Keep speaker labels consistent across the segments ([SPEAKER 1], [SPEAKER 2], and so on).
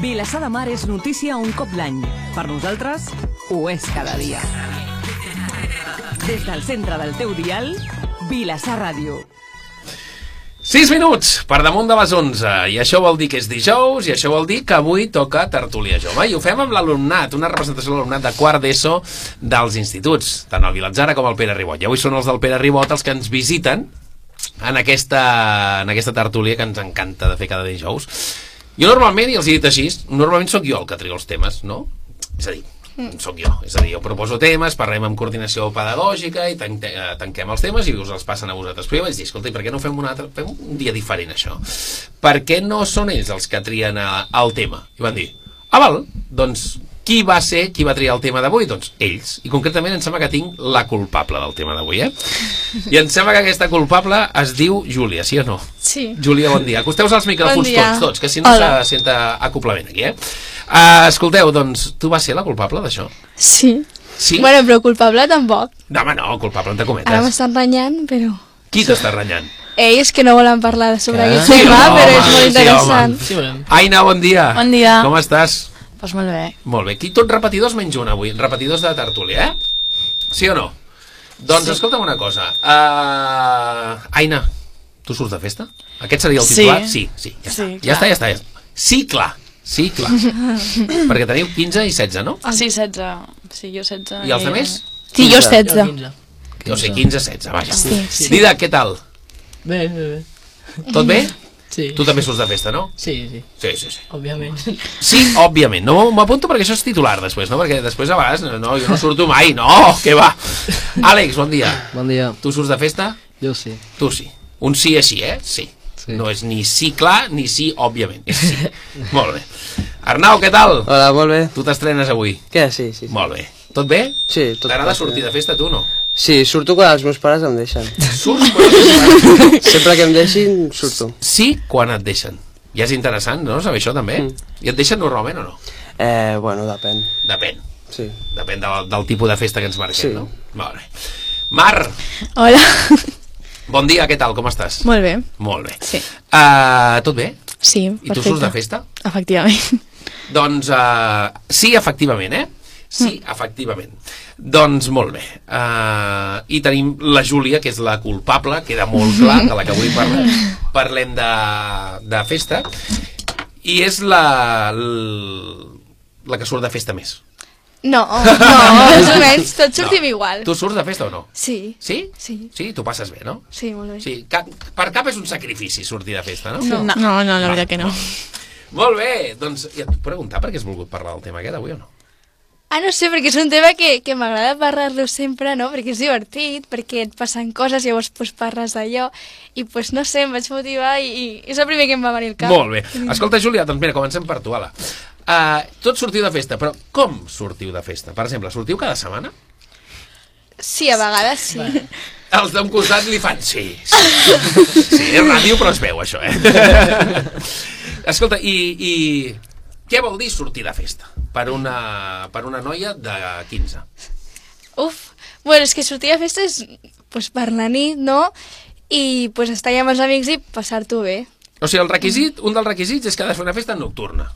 [SPEAKER 1] Vilassar de Mar és notícia un cop l'any. Per nosaltres, ho és cada dia. Des del centre del teu dial, Vilassar Ràdio.
[SPEAKER 2] 6 minuts per damunt de les 11 i això vol dir que és dijous i això vol dir que avui toca tertúlia jove i ho fem amb l'alumnat, una representació de l'alumnat de quart d'ESO dels instituts tant el Vilatzara com el Pere Ribot i avui són els del Pere Ribot els que ens visiten en aquesta, en aquesta tertúlia que ens encanta de fer cada dijous jo normalment, i els he dit així normalment sóc jo el que trio els temes, no? és a dir, sóc jo, és a dir, jo proposo temes, parlem amb coordinació pedagògica i tanque, eh, tanquem els temes i us els passen a vosaltres. Però jo vaig dir, escolta, i per què no fem un, altre, fem un dia diferent, això? Per què no són ells els que trien eh, el tema? I van dir, ah, val, doncs qui va ser qui va triar el tema d'avui? Doncs ells. I concretament em sembla que tinc la culpable del tema d'avui, eh? I em sembla que aquesta culpable es diu Júlia, sí o no?
[SPEAKER 3] Sí.
[SPEAKER 2] Júlia, bon dia. Acosteu-vos als micròfons
[SPEAKER 3] Bon dia.
[SPEAKER 2] tots, tots, que si no
[SPEAKER 3] Hola.
[SPEAKER 2] se senta acoblament aquí, eh? Uh, escolteu, doncs, tu vas ser la culpable d'això?
[SPEAKER 3] Sí.
[SPEAKER 2] Sí?
[SPEAKER 3] Bueno, però culpable tampoc.
[SPEAKER 2] No, home, no, culpable, entre
[SPEAKER 3] Ara
[SPEAKER 2] cometes.
[SPEAKER 3] m'estan renyant, però...
[SPEAKER 2] Qui t'està renyant?
[SPEAKER 3] Ells que no volen parlar sobre
[SPEAKER 4] Ah.
[SPEAKER 3] aquest
[SPEAKER 4] Sí,
[SPEAKER 3] tema,
[SPEAKER 2] home,
[SPEAKER 3] però és molt
[SPEAKER 2] sí,
[SPEAKER 3] interessant.
[SPEAKER 4] Sí, bueno.
[SPEAKER 2] Aina, bon dia.
[SPEAKER 5] Bon dia.
[SPEAKER 2] Com estàs?
[SPEAKER 5] Pues molt bé.
[SPEAKER 2] Molt bé. Aquí tots repetidors menys un avui, repetidors de tertúlia, eh? Sí o no? Doncs sí. escolta'm una cosa. Uh, Aina, tu surts de festa? Aquest seria el
[SPEAKER 5] Sí.
[SPEAKER 2] titular? Sí, sí, ja,
[SPEAKER 5] Sí,
[SPEAKER 2] està. ja està. Ja està, ja està. Sí, clar. Sí, clar. Perquè teniu 15 i 16, no?
[SPEAKER 5] Ah, Sí, 16. Sí, jo 16.
[SPEAKER 2] I els altres?
[SPEAKER 3] Sí, jo
[SPEAKER 4] 15.
[SPEAKER 3] 16.
[SPEAKER 2] No sé, 15, 16, vaja. Sí,
[SPEAKER 3] sí.
[SPEAKER 2] Didac, què tal?
[SPEAKER 4] Bé, bé, bé.
[SPEAKER 2] Tot bé?
[SPEAKER 4] Sí.
[SPEAKER 2] Tu també surts de festa, no?
[SPEAKER 4] Sí, sí,
[SPEAKER 2] Sí, sí, sí.
[SPEAKER 4] òbviament.
[SPEAKER 2] Sí, òbviament. No m'apunto perquè això és titular després, no? Perquè després a vegades no, no, jo no surto mai. No, que va. Àlex, bon dia.
[SPEAKER 6] Bon dia,
[SPEAKER 2] Tu surts de festa?
[SPEAKER 6] jo sí.
[SPEAKER 2] Tu sí. Un sí així, eh? Sí.
[SPEAKER 6] Sí.
[SPEAKER 2] No és ni sí clar ni sí òbviament. És sí. Molt bé. Arnau, què tal?
[SPEAKER 6] Hola, molt bé.
[SPEAKER 2] Tu t'estrenes avui.
[SPEAKER 6] Què? Sí, sí. sí.
[SPEAKER 2] Molt bé. Tot bé?
[SPEAKER 6] Sí, tot
[SPEAKER 2] T'agrada
[SPEAKER 6] passa.
[SPEAKER 2] sortir de festa, tu, no?
[SPEAKER 6] Sí, surto quan els meus pares em deixen.
[SPEAKER 2] Surts quan...
[SPEAKER 6] Sempre que em deixin, surto.
[SPEAKER 2] Sí, quan et deixen. Ja és interessant, no?, saber això també. Mm. I et deixen normalment o no?
[SPEAKER 6] Eh, bueno, depèn.
[SPEAKER 2] Depèn.
[SPEAKER 6] Sí.
[SPEAKER 2] Depèn del, del tipus de festa que ens marquem,
[SPEAKER 6] Sí.
[SPEAKER 2] no? Molt bé. Mar,
[SPEAKER 3] Hola.
[SPEAKER 2] Bon dia, què tal, com estàs?
[SPEAKER 3] Molt bé.
[SPEAKER 2] Molt bé.
[SPEAKER 3] Sí.
[SPEAKER 2] Uh, tot bé?
[SPEAKER 3] Sí,
[SPEAKER 2] I tu
[SPEAKER 3] perfecte.
[SPEAKER 2] surts de festa?
[SPEAKER 3] Efectivament.
[SPEAKER 2] Doncs uh, sí, efectivament, eh? Sí,
[SPEAKER 3] Mm.
[SPEAKER 2] efectivament. Doncs molt bé. Uh, I tenim la Júlia, que és la culpable, queda molt clar, de la que avui parlem, parlem de, de festa, i és la, l- la que surt de festa més.
[SPEAKER 3] No, no, més o menys, tots sortim
[SPEAKER 2] No.
[SPEAKER 3] igual.
[SPEAKER 2] Tu surts de festa o no?
[SPEAKER 3] Sí,
[SPEAKER 2] Sí?
[SPEAKER 3] Sí.
[SPEAKER 2] Sí, tu passes bé, no?
[SPEAKER 3] sí, molt bé.
[SPEAKER 2] Sí, cap, per cap és un sacrifici sortir de festa, no?
[SPEAKER 5] No. no.
[SPEAKER 3] no, la veritat que no.
[SPEAKER 2] Molt bé, doncs ja et puc preguntar per què has volgut parlar del tema aquest avui o no?
[SPEAKER 3] Ah, no sé, perquè és un tema que, que m'agrada parlar-lo sempre, no? Perquè és divertit, perquè et passen coses, llavors pues, parles d'allò, i pues, no sé, em vaig motivar i, i és el primer que em va venir al cap.
[SPEAKER 2] Molt bé. Escolta, Júlia, doncs mira, comencem per tu, ala. Uh, tots sortiu de festa, però com sortiu de festa? Per exemple, sortiu cada setmana?
[SPEAKER 3] Sí, a vegades sí.
[SPEAKER 2] Els d'un costat li fan sí, sí. Sí, és ràdio, però es veu, això, eh? Escolta, i, i què vol dir sortir de festa per una, per una noia de 15?
[SPEAKER 3] Uf, bueno, és que sortir a festa és pues, per la nit, no? I pues, estar allà amb els amics i passar-t'ho bé.
[SPEAKER 2] O sigui, el requisit, un dels requisits és que ha de fer una festa nocturna.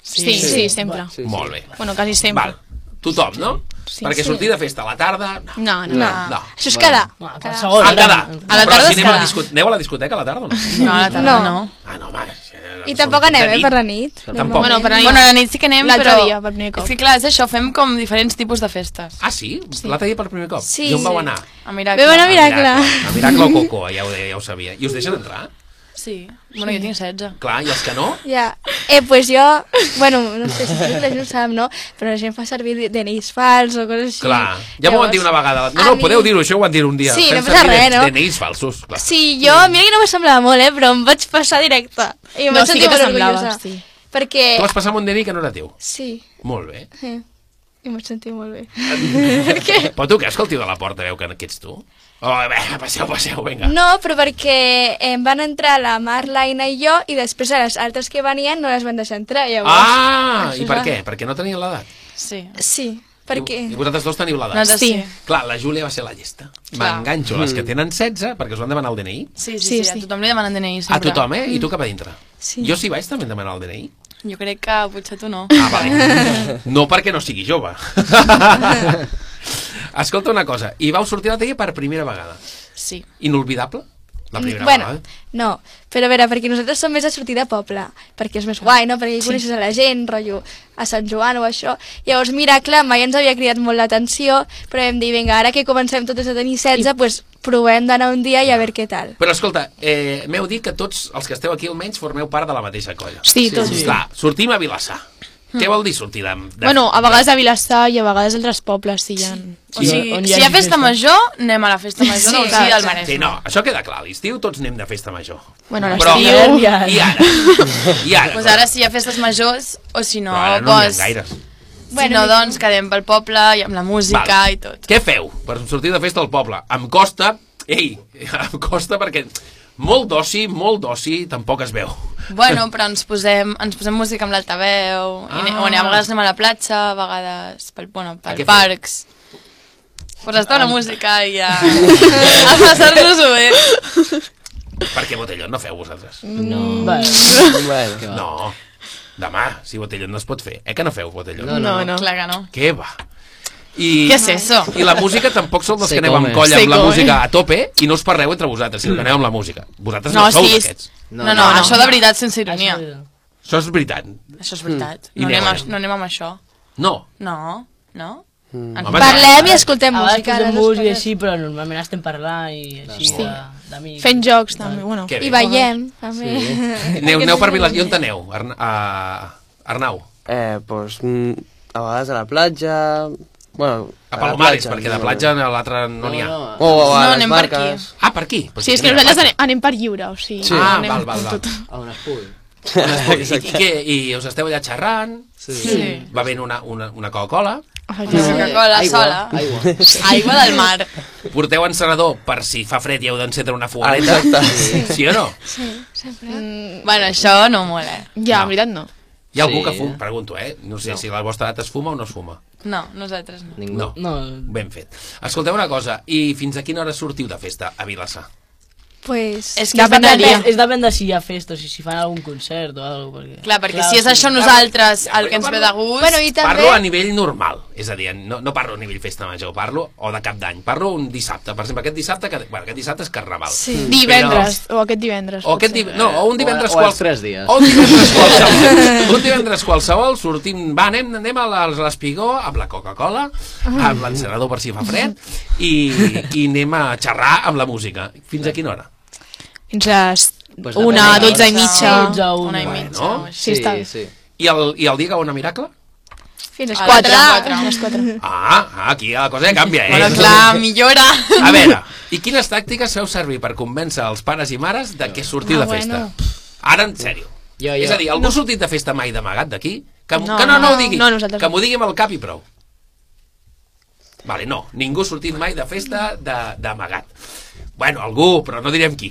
[SPEAKER 5] Sí, sí, sí, sempre.
[SPEAKER 6] Sí, sí.
[SPEAKER 2] Molt bé.
[SPEAKER 5] Bueno, quasi sempre.
[SPEAKER 2] Val. Tothom, no? Sí, Perquè
[SPEAKER 3] sí.
[SPEAKER 2] sortir de festa a la tarda... No.
[SPEAKER 5] No, no.
[SPEAKER 3] No,
[SPEAKER 2] no.
[SPEAKER 3] això és quedar.
[SPEAKER 4] Va,
[SPEAKER 3] quedar.
[SPEAKER 4] qualsevol.
[SPEAKER 2] A quedar.
[SPEAKER 5] A la
[SPEAKER 2] Però
[SPEAKER 5] tarda
[SPEAKER 2] si
[SPEAKER 5] es
[SPEAKER 2] anem a la
[SPEAKER 5] quedar.
[SPEAKER 2] disco... Aneu a la discoteca a la tarda o no?
[SPEAKER 5] No, a la tarda
[SPEAKER 3] No.
[SPEAKER 5] no.
[SPEAKER 2] Ah, no, va. és que
[SPEAKER 3] I
[SPEAKER 2] són
[SPEAKER 3] tampoc anem,
[SPEAKER 2] de
[SPEAKER 3] eh, per la nit.
[SPEAKER 2] Tampoc.
[SPEAKER 5] Bueno, per la nit, Oh. bueno, la nit sí que anem,
[SPEAKER 3] L'altre
[SPEAKER 5] però...
[SPEAKER 3] dia, per primer cop.
[SPEAKER 5] És que clar, és això, fem com diferents tipus de festes.
[SPEAKER 2] Ah,
[SPEAKER 5] Ah,
[SPEAKER 2] sí? sí. L'altre dia per primer cop?
[SPEAKER 3] Sí.
[SPEAKER 2] I on vau anar?
[SPEAKER 5] A Miracle.
[SPEAKER 3] Bé,
[SPEAKER 2] A
[SPEAKER 3] bueno, mira, clar.
[SPEAKER 2] A Miracle o Coco, ja ho, deia, ja ho sabia. I us deixen entrar?
[SPEAKER 5] Sí. Bueno, jo tinc 16.
[SPEAKER 2] Clar, i els que no?
[SPEAKER 3] Ja. Eh, pues jo... Bueno, no sé si la gent ho sap, no? Però la gent fa servir DNIs fals o coses així.
[SPEAKER 2] Clar, ja m'ho van dir una vegada. No,
[SPEAKER 3] a
[SPEAKER 2] no,
[SPEAKER 3] mi-
[SPEAKER 2] podeu dir-ho, això ho van dir un dia.
[SPEAKER 3] Sí,
[SPEAKER 2] Fem
[SPEAKER 3] no passa
[SPEAKER 2] servir
[SPEAKER 3] res,
[SPEAKER 2] de-
[SPEAKER 3] no?
[SPEAKER 2] DNIs falsos, clar.
[SPEAKER 3] Sí, jo, mira que no m'assemblava molt, eh? Però em vaig passar directe. I em
[SPEAKER 5] No,
[SPEAKER 3] vaig
[SPEAKER 5] sí
[SPEAKER 3] sentir
[SPEAKER 5] que
[SPEAKER 3] molt
[SPEAKER 5] t'assemblava,
[SPEAKER 3] orgullosa.
[SPEAKER 5] sí.
[SPEAKER 3] Perquè...
[SPEAKER 2] Tu vas passar amb un DNI que no era teu.
[SPEAKER 3] Sí,
[SPEAKER 2] Molt bé.
[SPEAKER 3] eh. I em vaig sentir molt bé.
[SPEAKER 2] Però tu què? Escolti de la porta, veu que, que ets tu? Oh, bé, passeu, passeu, vinga.
[SPEAKER 3] No, però perquè
[SPEAKER 7] eh,
[SPEAKER 3] em van entrar la Mar, l'Aina i jo i després a les altres que venien no les van deixar entrar, llavors.
[SPEAKER 2] Ah,
[SPEAKER 3] Això
[SPEAKER 2] i
[SPEAKER 3] és
[SPEAKER 2] per
[SPEAKER 3] la-
[SPEAKER 2] què? Perquè no tenien l'edat.
[SPEAKER 5] Sí.
[SPEAKER 3] Sí,
[SPEAKER 2] I,
[SPEAKER 3] perquè...
[SPEAKER 2] I vosaltres dos teniu l'edat.
[SPEAKER 5] Nosaltres sí.
[SPEAKER 2] Clar, la Júlia va ser la llesta. M'enganxo a les que tenen 16 perquè us van demanar el DNI.
[SPEAKER 5] Sí, sí, sí,
[SPEAKER 3] Sí,
[SPEAKER 5] sí,
[SPEAKER 3] sí.
[SPEAKER 5] a tothom li demanen DNI sempre.
[SPEAKER 2] A tothom, eh? I tu cap a dintre.
[SPEAKER 3] Mm. Sí.
[SPEAKER 2] Jo sí vaig també demanar el DNI.
[SPEAKER 5] Jo crec que potser tu no.
[SPEAKER 2] Ah, vale. No perquè no sigui jove. Escolta una cosa, i vau sortir a la tele per primera vegada.
[SPEAKER 5] Sí.
[SPEAKER 2] Inolvidable? La primera
[SPEAKER 7] Mm, bueno,
[SPEAKER 2] vegada. eh?
[SPEAKER 7] no, però a veure, perquè nosaltres som més de sortir de poble, perquè és més guai, no? Perquè sí. coneixes a la gent, rotllo, a Sant Joan o això. Llavors, mira, clar, mai ens havia cridat molt l'atenció, però vam dir, vinga, ara que comencem totes a tenir 16, doncs pues, provem d'anar un dia i a veure què tal.
[SPEAKER 2] Però escolta, eh, m'heu dit que tots els que esteu aquí almenys formeu part de la mateixa colla.
[SPEAKER 3] Sí, Sí. tots.
[SPEAKER 2] Clar, sortim a Vilassar. Què vol dir sortir de... de...
[SPEAKER 3] Bueno, a vegades a Vilassar i a vegades a altres pobles, si hi ha...
[SPEAKER 5] O sigui, si hi ha festa major, anem a la festa major sí, del sí, del Maresme.
[SPEAKER 2] Sí, no, això queda clar. A l'estiu tots anem de festa major.
[SPEAKER 5] Bueno, a
[SPEAKER 2] Però-
[SPEAKER 5] l'estiu-
[SPEAKER 2] I ara. I ara. I ara.
[SPEAKER 5] Pues ara si hi ha festes majors, o si no,
[SPEAKER 2] Però ara no n'hi ha
[SPEAKER 5] pues...
[SPEAKER 2] gaires.
[SPEAKER 5] Si no, doncs, quedem pel poble i amb la música i tot.
[SPEAKER 2] Què feu per sortir de festa al poble? Em costa... Ei, em costa perquè molt d'oci, molt d'oci, tampoc es veu.
[SPEAKER 5] Bueno, però ens posem, ens posem música amb l'altaveu, ah. i,
[SPEAKER 2] Ah.
[SPEAKER 5] o anem, a vegades anem a la platja, a vegades pel, bueno,
[SPEAKER 2] A
[SPEAKER 5] pel
[SPEAKER 2] què feu?
[SPEAKER 5] parcs. Pues està una música i a, a passar-nos-ho bé.
[SPEAKER 2] Perquè botellón no feu vosaltres.
[SPEAKER 5] No.
[SPEAKER 6] Bueno.
[SPEAKER 2] No. Demà, si botellón no es pot fer. Eh que no feu botellón?
[SPEAKER 5] No, no, no. Clar que no.
[SPEAKER 2] Què va? I,
[SPEAKER 5] Què és eso?
[SPEAKER 2] I la música tampoc sou dels
[SPEAKER 5] Se
[SPEAKER 2] que aneu amb
[SPEAKER 5] come.
[SPEAKER 2] colla,
[SPEAKER 5] Se
[SPEAKER 2] amb la
[SPEAKER 5] come.
[SPEAKER 2] música a tope i no us parleu entre vosaltres, sinó que aneu amb la música. Vosaltres no,
[SPEAKER 5] No,
[SPEAKER 2] sou
[SPEAKER 5] sí, és-
[SPEAKER 2] d'aquests.
[SPEAKER 5] No, no, no, no, això de veritat, sense ironia.
[SPEAKER 2] Això és veritat.
[SPEAKER 5] Això és veritat.
[SPEAKER 2] I
[SPEAKER 5] No anem,
[SPEAKER 2] aneu,
[SPEAKER 5] a, no anem amb això.
[SPEAKER 2] No.
[SPEAKER 5] No, no.
[SPEAKER 2] Mm.
[SPEAKER 5] Ens-
[SPEAKER 2] Home,
[SPEAKER 7] Parlem i escoltem
[SPEAKER 4] A vegades
[SPEAKER 7] música.
[SPEAKER 4] posem
[SPEAKER 7] les
[SPEAKER 4] música i
[SPEAKER 7] escoltem.
[SPEAKER 4] així, però normalment estem parlant i així
[SPEAKER 2] Sí.
[SPEAKER 4] sí. d'amics.
[SPEAKER 3] Fent jocs, també, bueno.
[SPEAKER 2] Què bé.
[SPEAKER 7] I veiem, també. Sí.
[SPEAKER 2] Aneu, aneu per Vilas... I on aneu? Arna... a- Arnau.
[SPEAKER 6] Eh, doncs, mm, a vegades a la platja... Bueno,
[SPEAKER 2] A Palomares, perquè de platja a l'altre no n'hi ha.
[SPEAKER 6] O, o a
[SPEAKER 3] No,
[SPEAKER 6] les
[SPEAKER 3] anem per aquí.
[SPEAKER 6] barques.
[SPEAKER 2] Ah, per aquí? Però
[SPEAKER 3] Sí, és que
[SPEAKER 2] anem a la
[SPEAKER 3] nosaltres anem, anem per lliure, o sigui...
[SPEAKER 6] Sí.
[SPEAKER 2] Ah,
[SPEAKER 3] anem
[SPEAKER 2] val, val,
[SPEAKER 3] amb
[SPEAKER 2] val.
[SPEAKER 3] tot.
[SPEAKER 8] A on es pugui.
[SPEAKER 2] platja. I, i, què? I us esteu allà xerrant, sí. va venir una, una, una Coca-Cola,
[SPEAKER 5] Coca-Cola sola.
[SPEAKER 8] Aigua.
[SPEAKER 5] Aigua del mar.
[SPEAKER 2] porteu encenedor per si fa fred i heu d'encendre una fogareta.
[SPEAKER 6] Exacte.
[SPEAKER 2] Sí. sí o no?
[SPEAKER 5] Bueno, això no mola.
[SPEAKER 3] Ja, en veritat no.
[SPEAKER 2] Hi ha algú
[SPEAKER 8] Sí.
[SPEAKER 2] que fuma? Pregunto, eh? No sé si la vostra edat es fuma o no es fuma.
[SPEAKER 5] No, nosaltres no.
[SPEAKER 8] Ningú.
[SPEAKER 2] No.
[SPEAKER 4] No,
[SPEAKER 2] Ben fet. Escolteu una cosa, i fins a quina hora sortiu de festa a Vilassar?
[SPEAKER 7] Pues...
[SPEAKER 5] És que
[SPEAKER 4] depèn de,
[SPEAKER 5] és
[SPEAKER 4] és depèn de si hi ha festa, o si, si fan algun concert o alguna cosa. Perquè...
[SPEAKER 5] Clar, perquè si és això nosaltres el que ens ve de gust...
[SPEAKER 7] Bueno, i també...
[SPEAKER 2] Parlo a nivell normal, és a dir, no, no parlo a nivell festa major, parlo o de cap d'any, parlo un dissabte, per exemple, aquest dissabte, que, bueno, aquest dissabte és carnaval.
[SPEAKER 7] Sí.
[SPEAKER 3] Divendres, o aquest divendres.
[SPEAKER 2] Mm. O, aquest, div- no, o un divendres Oh,
[SPEAKER 8] O- o els
[SPEAKER 2] qualsevol.
[SPEAKER 8] tres dies.
[SPEAKER 2] O un divendres qualsevol. un divendres qualsevol, sortim, va, anem, anem a la- a l'Espigó amb la Coca-Cola, amb l'encenador per si fa fred, i, i anem a xerrar amb la música. Fins a quina hora?
[SPEAKER 3] Fins les
[SPEAKER 8] Pues depèn
[SPEAKER 3] una,
[SPEAKER 8] de
[SPEAKER 3] dotze i
[SPEAKER 5] hores.
[SPEAKER 3] mitja.
[SPEAKER 4] Dotze, una.
[SPEAKER 5] Una i
[SPEAKER 2] Bueno.
[SPEAKER 5] mitja. o així.
[SPEAKER 3] Sí, està bé.
[SPEAKER 8] sí.
[SPEAKER 6] Eh,
[SPEAKER 2] I el, i el dia que va una miracle?
[SPEAKER 7] Fins les
[SPEAKER 5] A les
[SPEAKER 7] 4.
[SPEAKER 5] quatre.
[SPEAKER 3] Fins les quatre.
[SPEAKER 2] Ah, ah, aquí la cosa ja canvia, eh?
[SPEAKER 5] Bueno, clar, millora.
[SPEAKER 2] A veure, i quines tàctiques feu servir per convèncer els pares i mares de que sortiu de festa? Ara, en sèrio.
[SPEAKER 8] Jo, jo.
[SPEAKER 2] És a dir, algú ha sortit de festa mai d'amagat d'aquí? Que, no,
[SPEAKER 3] No,
[SPEAKER 2] que no, no,
[SPEAKER 3] no.
[SPEAKER 2] ho digui,
[SPEAKER 3] No, nosaltres
[SPEAKER 2] que
[SPEAKER 3] no.
[SPEAKER 2] m'ho digui amb el cap i prou. Vale, no, ningú ha sortit mai de festa de- d'amagat. Bueno, algú, però no direm qui.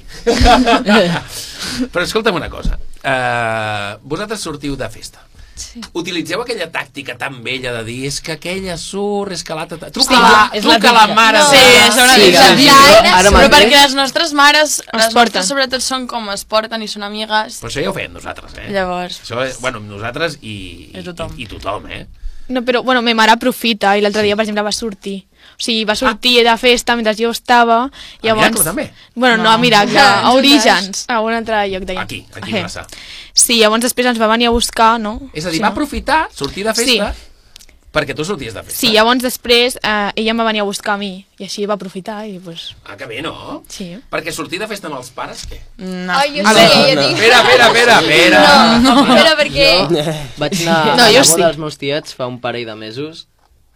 [SPEAKER 2] però escolta'm una cosa. Uh, vosaltres sortiu de festa. Sí. Utilitzeu aquella tàctica tan vella de dir és que aquella surt, és que l'altra... ta-". Truca,
[SPEAKER 4] Sí,
[SPEAKER 2] la,
[SPEAKER 4] és la
[SPEAKER 2] truca la
[SPEAKER 4] típica.
[SPEAKER 2] mare.
[SPEAKER 5] Sí, és una
[SPEAKER 8] Sí,
[SPEAKER 5] mica.
[SPEAKER 8] sí,
[SPEAKER 5] Però,
[SPEAKER 8] ara
[SPEAKER 5] eh? però
[SPEAKER 8] mateix-
[SPEAKER 5] perquè les nostres mares, les
[SPEAKER 3] porten.
[SPEAKER 5] nostres sobretot són com es porten i són amigues.
[SPEAKER 2] Però això ja ho fèiem nosaltres, eh?
[SPEAKER 5] Llavors,
[SPEAKER 2] Això, és- bueno, nosaltres i,
[SPEAKER 5] I tothom.
[SPEAKER 2] I, i tothom, eh?
[SPEAKER 3] No, però, bueno, ma mare aprofita i l'altre dia, per exemple, va sortir. O sigui,
[SPEAKER 2] Ah.
[SPEAKER 3] va sortir de festa mentre jo estava. Llavors...
[SPEAKER 2] Miracle, Ah, també?
[SPEAKER 3] Bueno, no, a Miracle, a Orígens, a un altre lloc d'allà. Eh,
[SPEAKER 2] Aquí, aquí a Vilassar.
[SPEAKER 3] Sí, llavors després ens va venir a buscar, no?
[SPEAKER 2] És a dir,
[SPEAKER 3] Sí,
[SPEAKER 2] sí, va
[SPEAKER 3] no?
[SPEAKER 2] aprofitar sortir de festa sí. perquè tu sorties de festa.
[SPEAKER 3] Sí, llavors després eh, ella em va venir a buscar a mi i així va aprofitar i pues...
[SPEAKER 2] Ah, que bé, no?
[SPEAKER 3] Sí.
[SPEAKER 2] Perquè sortir de festa amb els pares, què?
[SPEAKER 5] no.
[SPEAKER 7] Ai, jo
[SPEAKER 2] A
[SPEAKER 7] sí,
[SPEAKER 2] veure,
[SPEAKER 7] jo
[SPEAKER 2] no.
[SPEAKER 7] tinc...
[SPEAKER 2] Espera, espera, espera, espera.
[SPEAKER 7] No, espera, perquè...
[SPEAKER 8] Vaig anar
[SPEAKER 3] No,
[SPEAKER 8] no, a
[SPEAKER 3] jo
[SPEAKER 8] la boda
[SPEAKER 3] sí.
[SPEAKER 8] dels meus tiets fa un parell de mesos.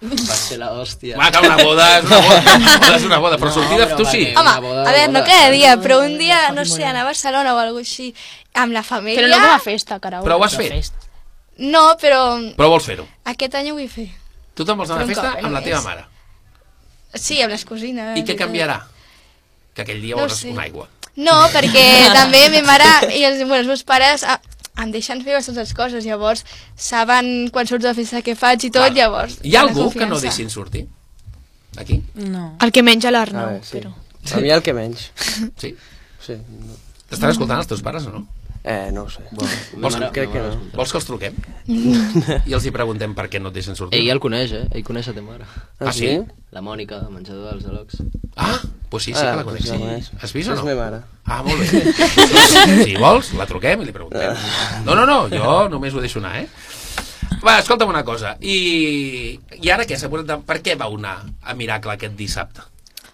[SPEAKER 8] Va ser la hòstia.
[SPEAKER 2] Va, que una boda és una boda, una boda, és una boda però sortir de...
[SPEAKER 8] però
[SPEAKER 2] Tu
[SPEAKER 8] va,
[SPEAKER 2] sí.
[SPEAKER 8] que-
[SPEAKER 7] Home,
[SPEAKER 8] Una boda de
[SPEAKER 7] a veure, no
[SPEAKER 8] boda.
[SPEAKER 7] cada dia, però un dia, no sé, anar a Barcelona o alguna així, amb la família...
[SPEAKER 3] Però no com a festa, carau.
[SPEAKER 2] Però ho has fet.
[SPEAKER 4] Festa.
[SPEAKER 7] No, però
[SPEAKER 2] Però vols fer-ho.
[SPEAKER 7] aquest any ho vull fer.
[SPEAKER 2] Tu te'n vols anar a
[SPEAKER 7] Però un
[SPEAKER 2] festa
[SPEAKER 7] cop, eh,
[SPEAKER 2] amb la teva
[SPEAKER 7] només.
[SPEAKER 2] mare.
[SPEAKER 7] Sí, amb les cosines.
[SPEAKER 2] I què canviarà? Que aquell dia
[SPEAKER 7] No
[SPEAKER 2] vols
[SPEAKER 7] sé.
[SPEAKER 2] una aigua.
[SPEAKER 7] No, perquè també mi mare i els, bueno, els meus pares ah, em deixen fer bastantes coses, llavors saben quan surto de festa què faig i tot,
[SPEAKER 2] Clar.
[SPEAKER 7] llavors...
[SPEAKER 2] Hi ha
[SPEAKER 7] la
[SPEAKER 2] algú que no
[SPEAKER 7] confiança.
[SPEAKER 2] deixin sortir? Aquí?
[SPEAKER 5] No.
[SPEAKER 3] El que menja
[SPEAKER 6] A
[SPEAKER 3] l'Arnau,
[SPEAKER 6] veure, sí.
[SPEAKER 3] però...
[SPEAKER 6] A mi el que menys.
[SPEAKER 2] Sí?
[SPEAKER 6] Sí.
[SPEAKER 2] T'estan escoltant els teus pares o no?
[SPEAKER 6] Eh, no ho sé.
[SPEAKER 8] Ma mare-
[SPEAKER 6] crec
[SPEAKER 8] ma
[SPEAKER 6] que
[SPEAKER 8] mare
[SPEAKER 6] no.
[SPEAKER 8] l'escolta.
[SPEAKER 2] Vols que els truquem? I els hi preguntem per què no et deixen sortir?
[SPEAKER 8] Ell el coneix, eh? Ell coneix a ta mare.
[SPEAKER 2] Ah, sí?
[SPEAKER 8] La Mònica, de menjador dels Alocs.
[SPEAKER 2] Ah, doncs sí, sí que
[SPEAKER 6] Ah,
[SPEAKER 2] la conec.
[SPEAKER 6] doncs la coneix.
[SPEAKER 2] Sí. Has vist o
[SPEAKER 6] És
[SPEAKER 2] no?
[SPEAKER 6] meva mare.
[SPEAKER 2] Ah, molt bé. si vols, la truquem i li preguntem.
[SPEAKER 6] Ah.
[SPEAKER 2] No, no, no, jo només ho deixo anar, eh? Va, escolta'm una cosa. I, i ara què? S'ha posat de... Per què vau anar a Miracle aquest dissabte?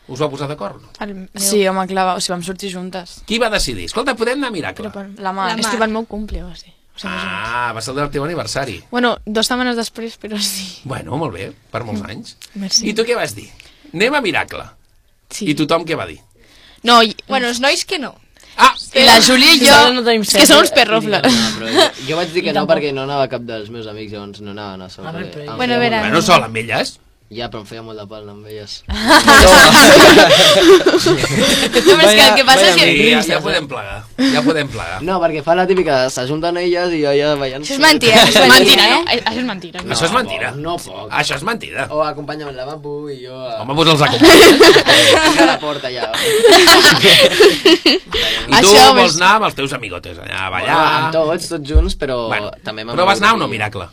[SPEAKER 2] Us vau posar d'acord? no?
[SPEAKER 3] El meu...
[SPEAKER 9] Sí, home, clar, o sigui, vam sortir juntes.
[SPEAKER 2] Qui va decidir? Escolta, podem anar a Miracle.
[SPEAKER 9] La mà.
[SPEAKER 3] Ah, és que va el meu cumple, va ser. O sigui, ah.
[SPEAKER 2] Ah, va ser el del teu aniversari.
[SPEAKER 3] Bueno, dues setmanes després, però sí.
[SPEAKER 2] Bueno, molt bé, per molts anys.
[SPEAKER 3] Merci.
[SPEAKER 2] I tu què vas dir? Anem a Miracle.
[SPEAKER 3] Sí.
[SPEAKER 2] I tothom què va dir?
[SPEAKER 3] No, i,
[SPEAKER 7] Bueno, els nois que no.
[SPEAKER 2] Ah,
[SPEAKER 3] i la Júlia i jo...
[SPEAKER 4] Nosaltres no tenim
[SPEAKER 3] és que som uns
[SPEAKER 4] set,
[SPEAKER 3] perrofles.
[SPEAKER 8] No, però jo, jo vaig dir que no perquè no anava cap dels meus amics, llavors no anava a anar sol.
[SPEAKER 4] Ah, bé, però
[SPEAKER 8] perquè em
[SPEAKER 4] ell-
[SPEAKER 7] Bueno, a
[SPEAKER 8] feia
[SPEAKER 7] veure.
[SPEAKER 2] bueno, sol amb elles.
[SPEAKER 8] molt- Ja, però em feia molt de pal amb elles.
[SPEAKER 5] No, però és que el que passa és que...
[SPEAKER 2] Sí, ja, ja podem plegar. Ja podem plegar.
[SPEAKER 8] No, perquè fa la típica, de s'ajunten elles i jo ja ballant.
[SPEAKER 7] Això és mentira, això és
[SPEAKER 3] Mentira,
[SPEAKER 7] mentira,
[SPEAKER 3] no?
[SPEAKER 7] eh?
[SPEAKER 3] Això és mentira.
[SPEAKER 2] Això és mentira.
[SPEAKER 8] No Oh. poc.
[SPEAKER 2] Això és mentida.
[SPEAKER 8] O acompanya'm al lavabo i jo a,
[SPEAKER 2] Home, vos els acompanyes.
[SPEAKER 8] a la porta ja.
[SPEAKER 2] I tu
[SPEAKER 3] Això,
[SPEAKER 2] vols
[SPEAKER 3] ves-
[SPEAKER 2] anar amb els teus amigotes allà a ballar.
[SPEAKER 8] Amb tots, tots junts, però
[SPEAKER 2] Bueno,
[SPEAKER 8] també m'han
[SPEAKER 2] però vas anar o
[SPEAKER 8] volgut
[SPEAKER 2] no,
[SPEAKER 8] dir-
[SPEAKER 2] Miracle?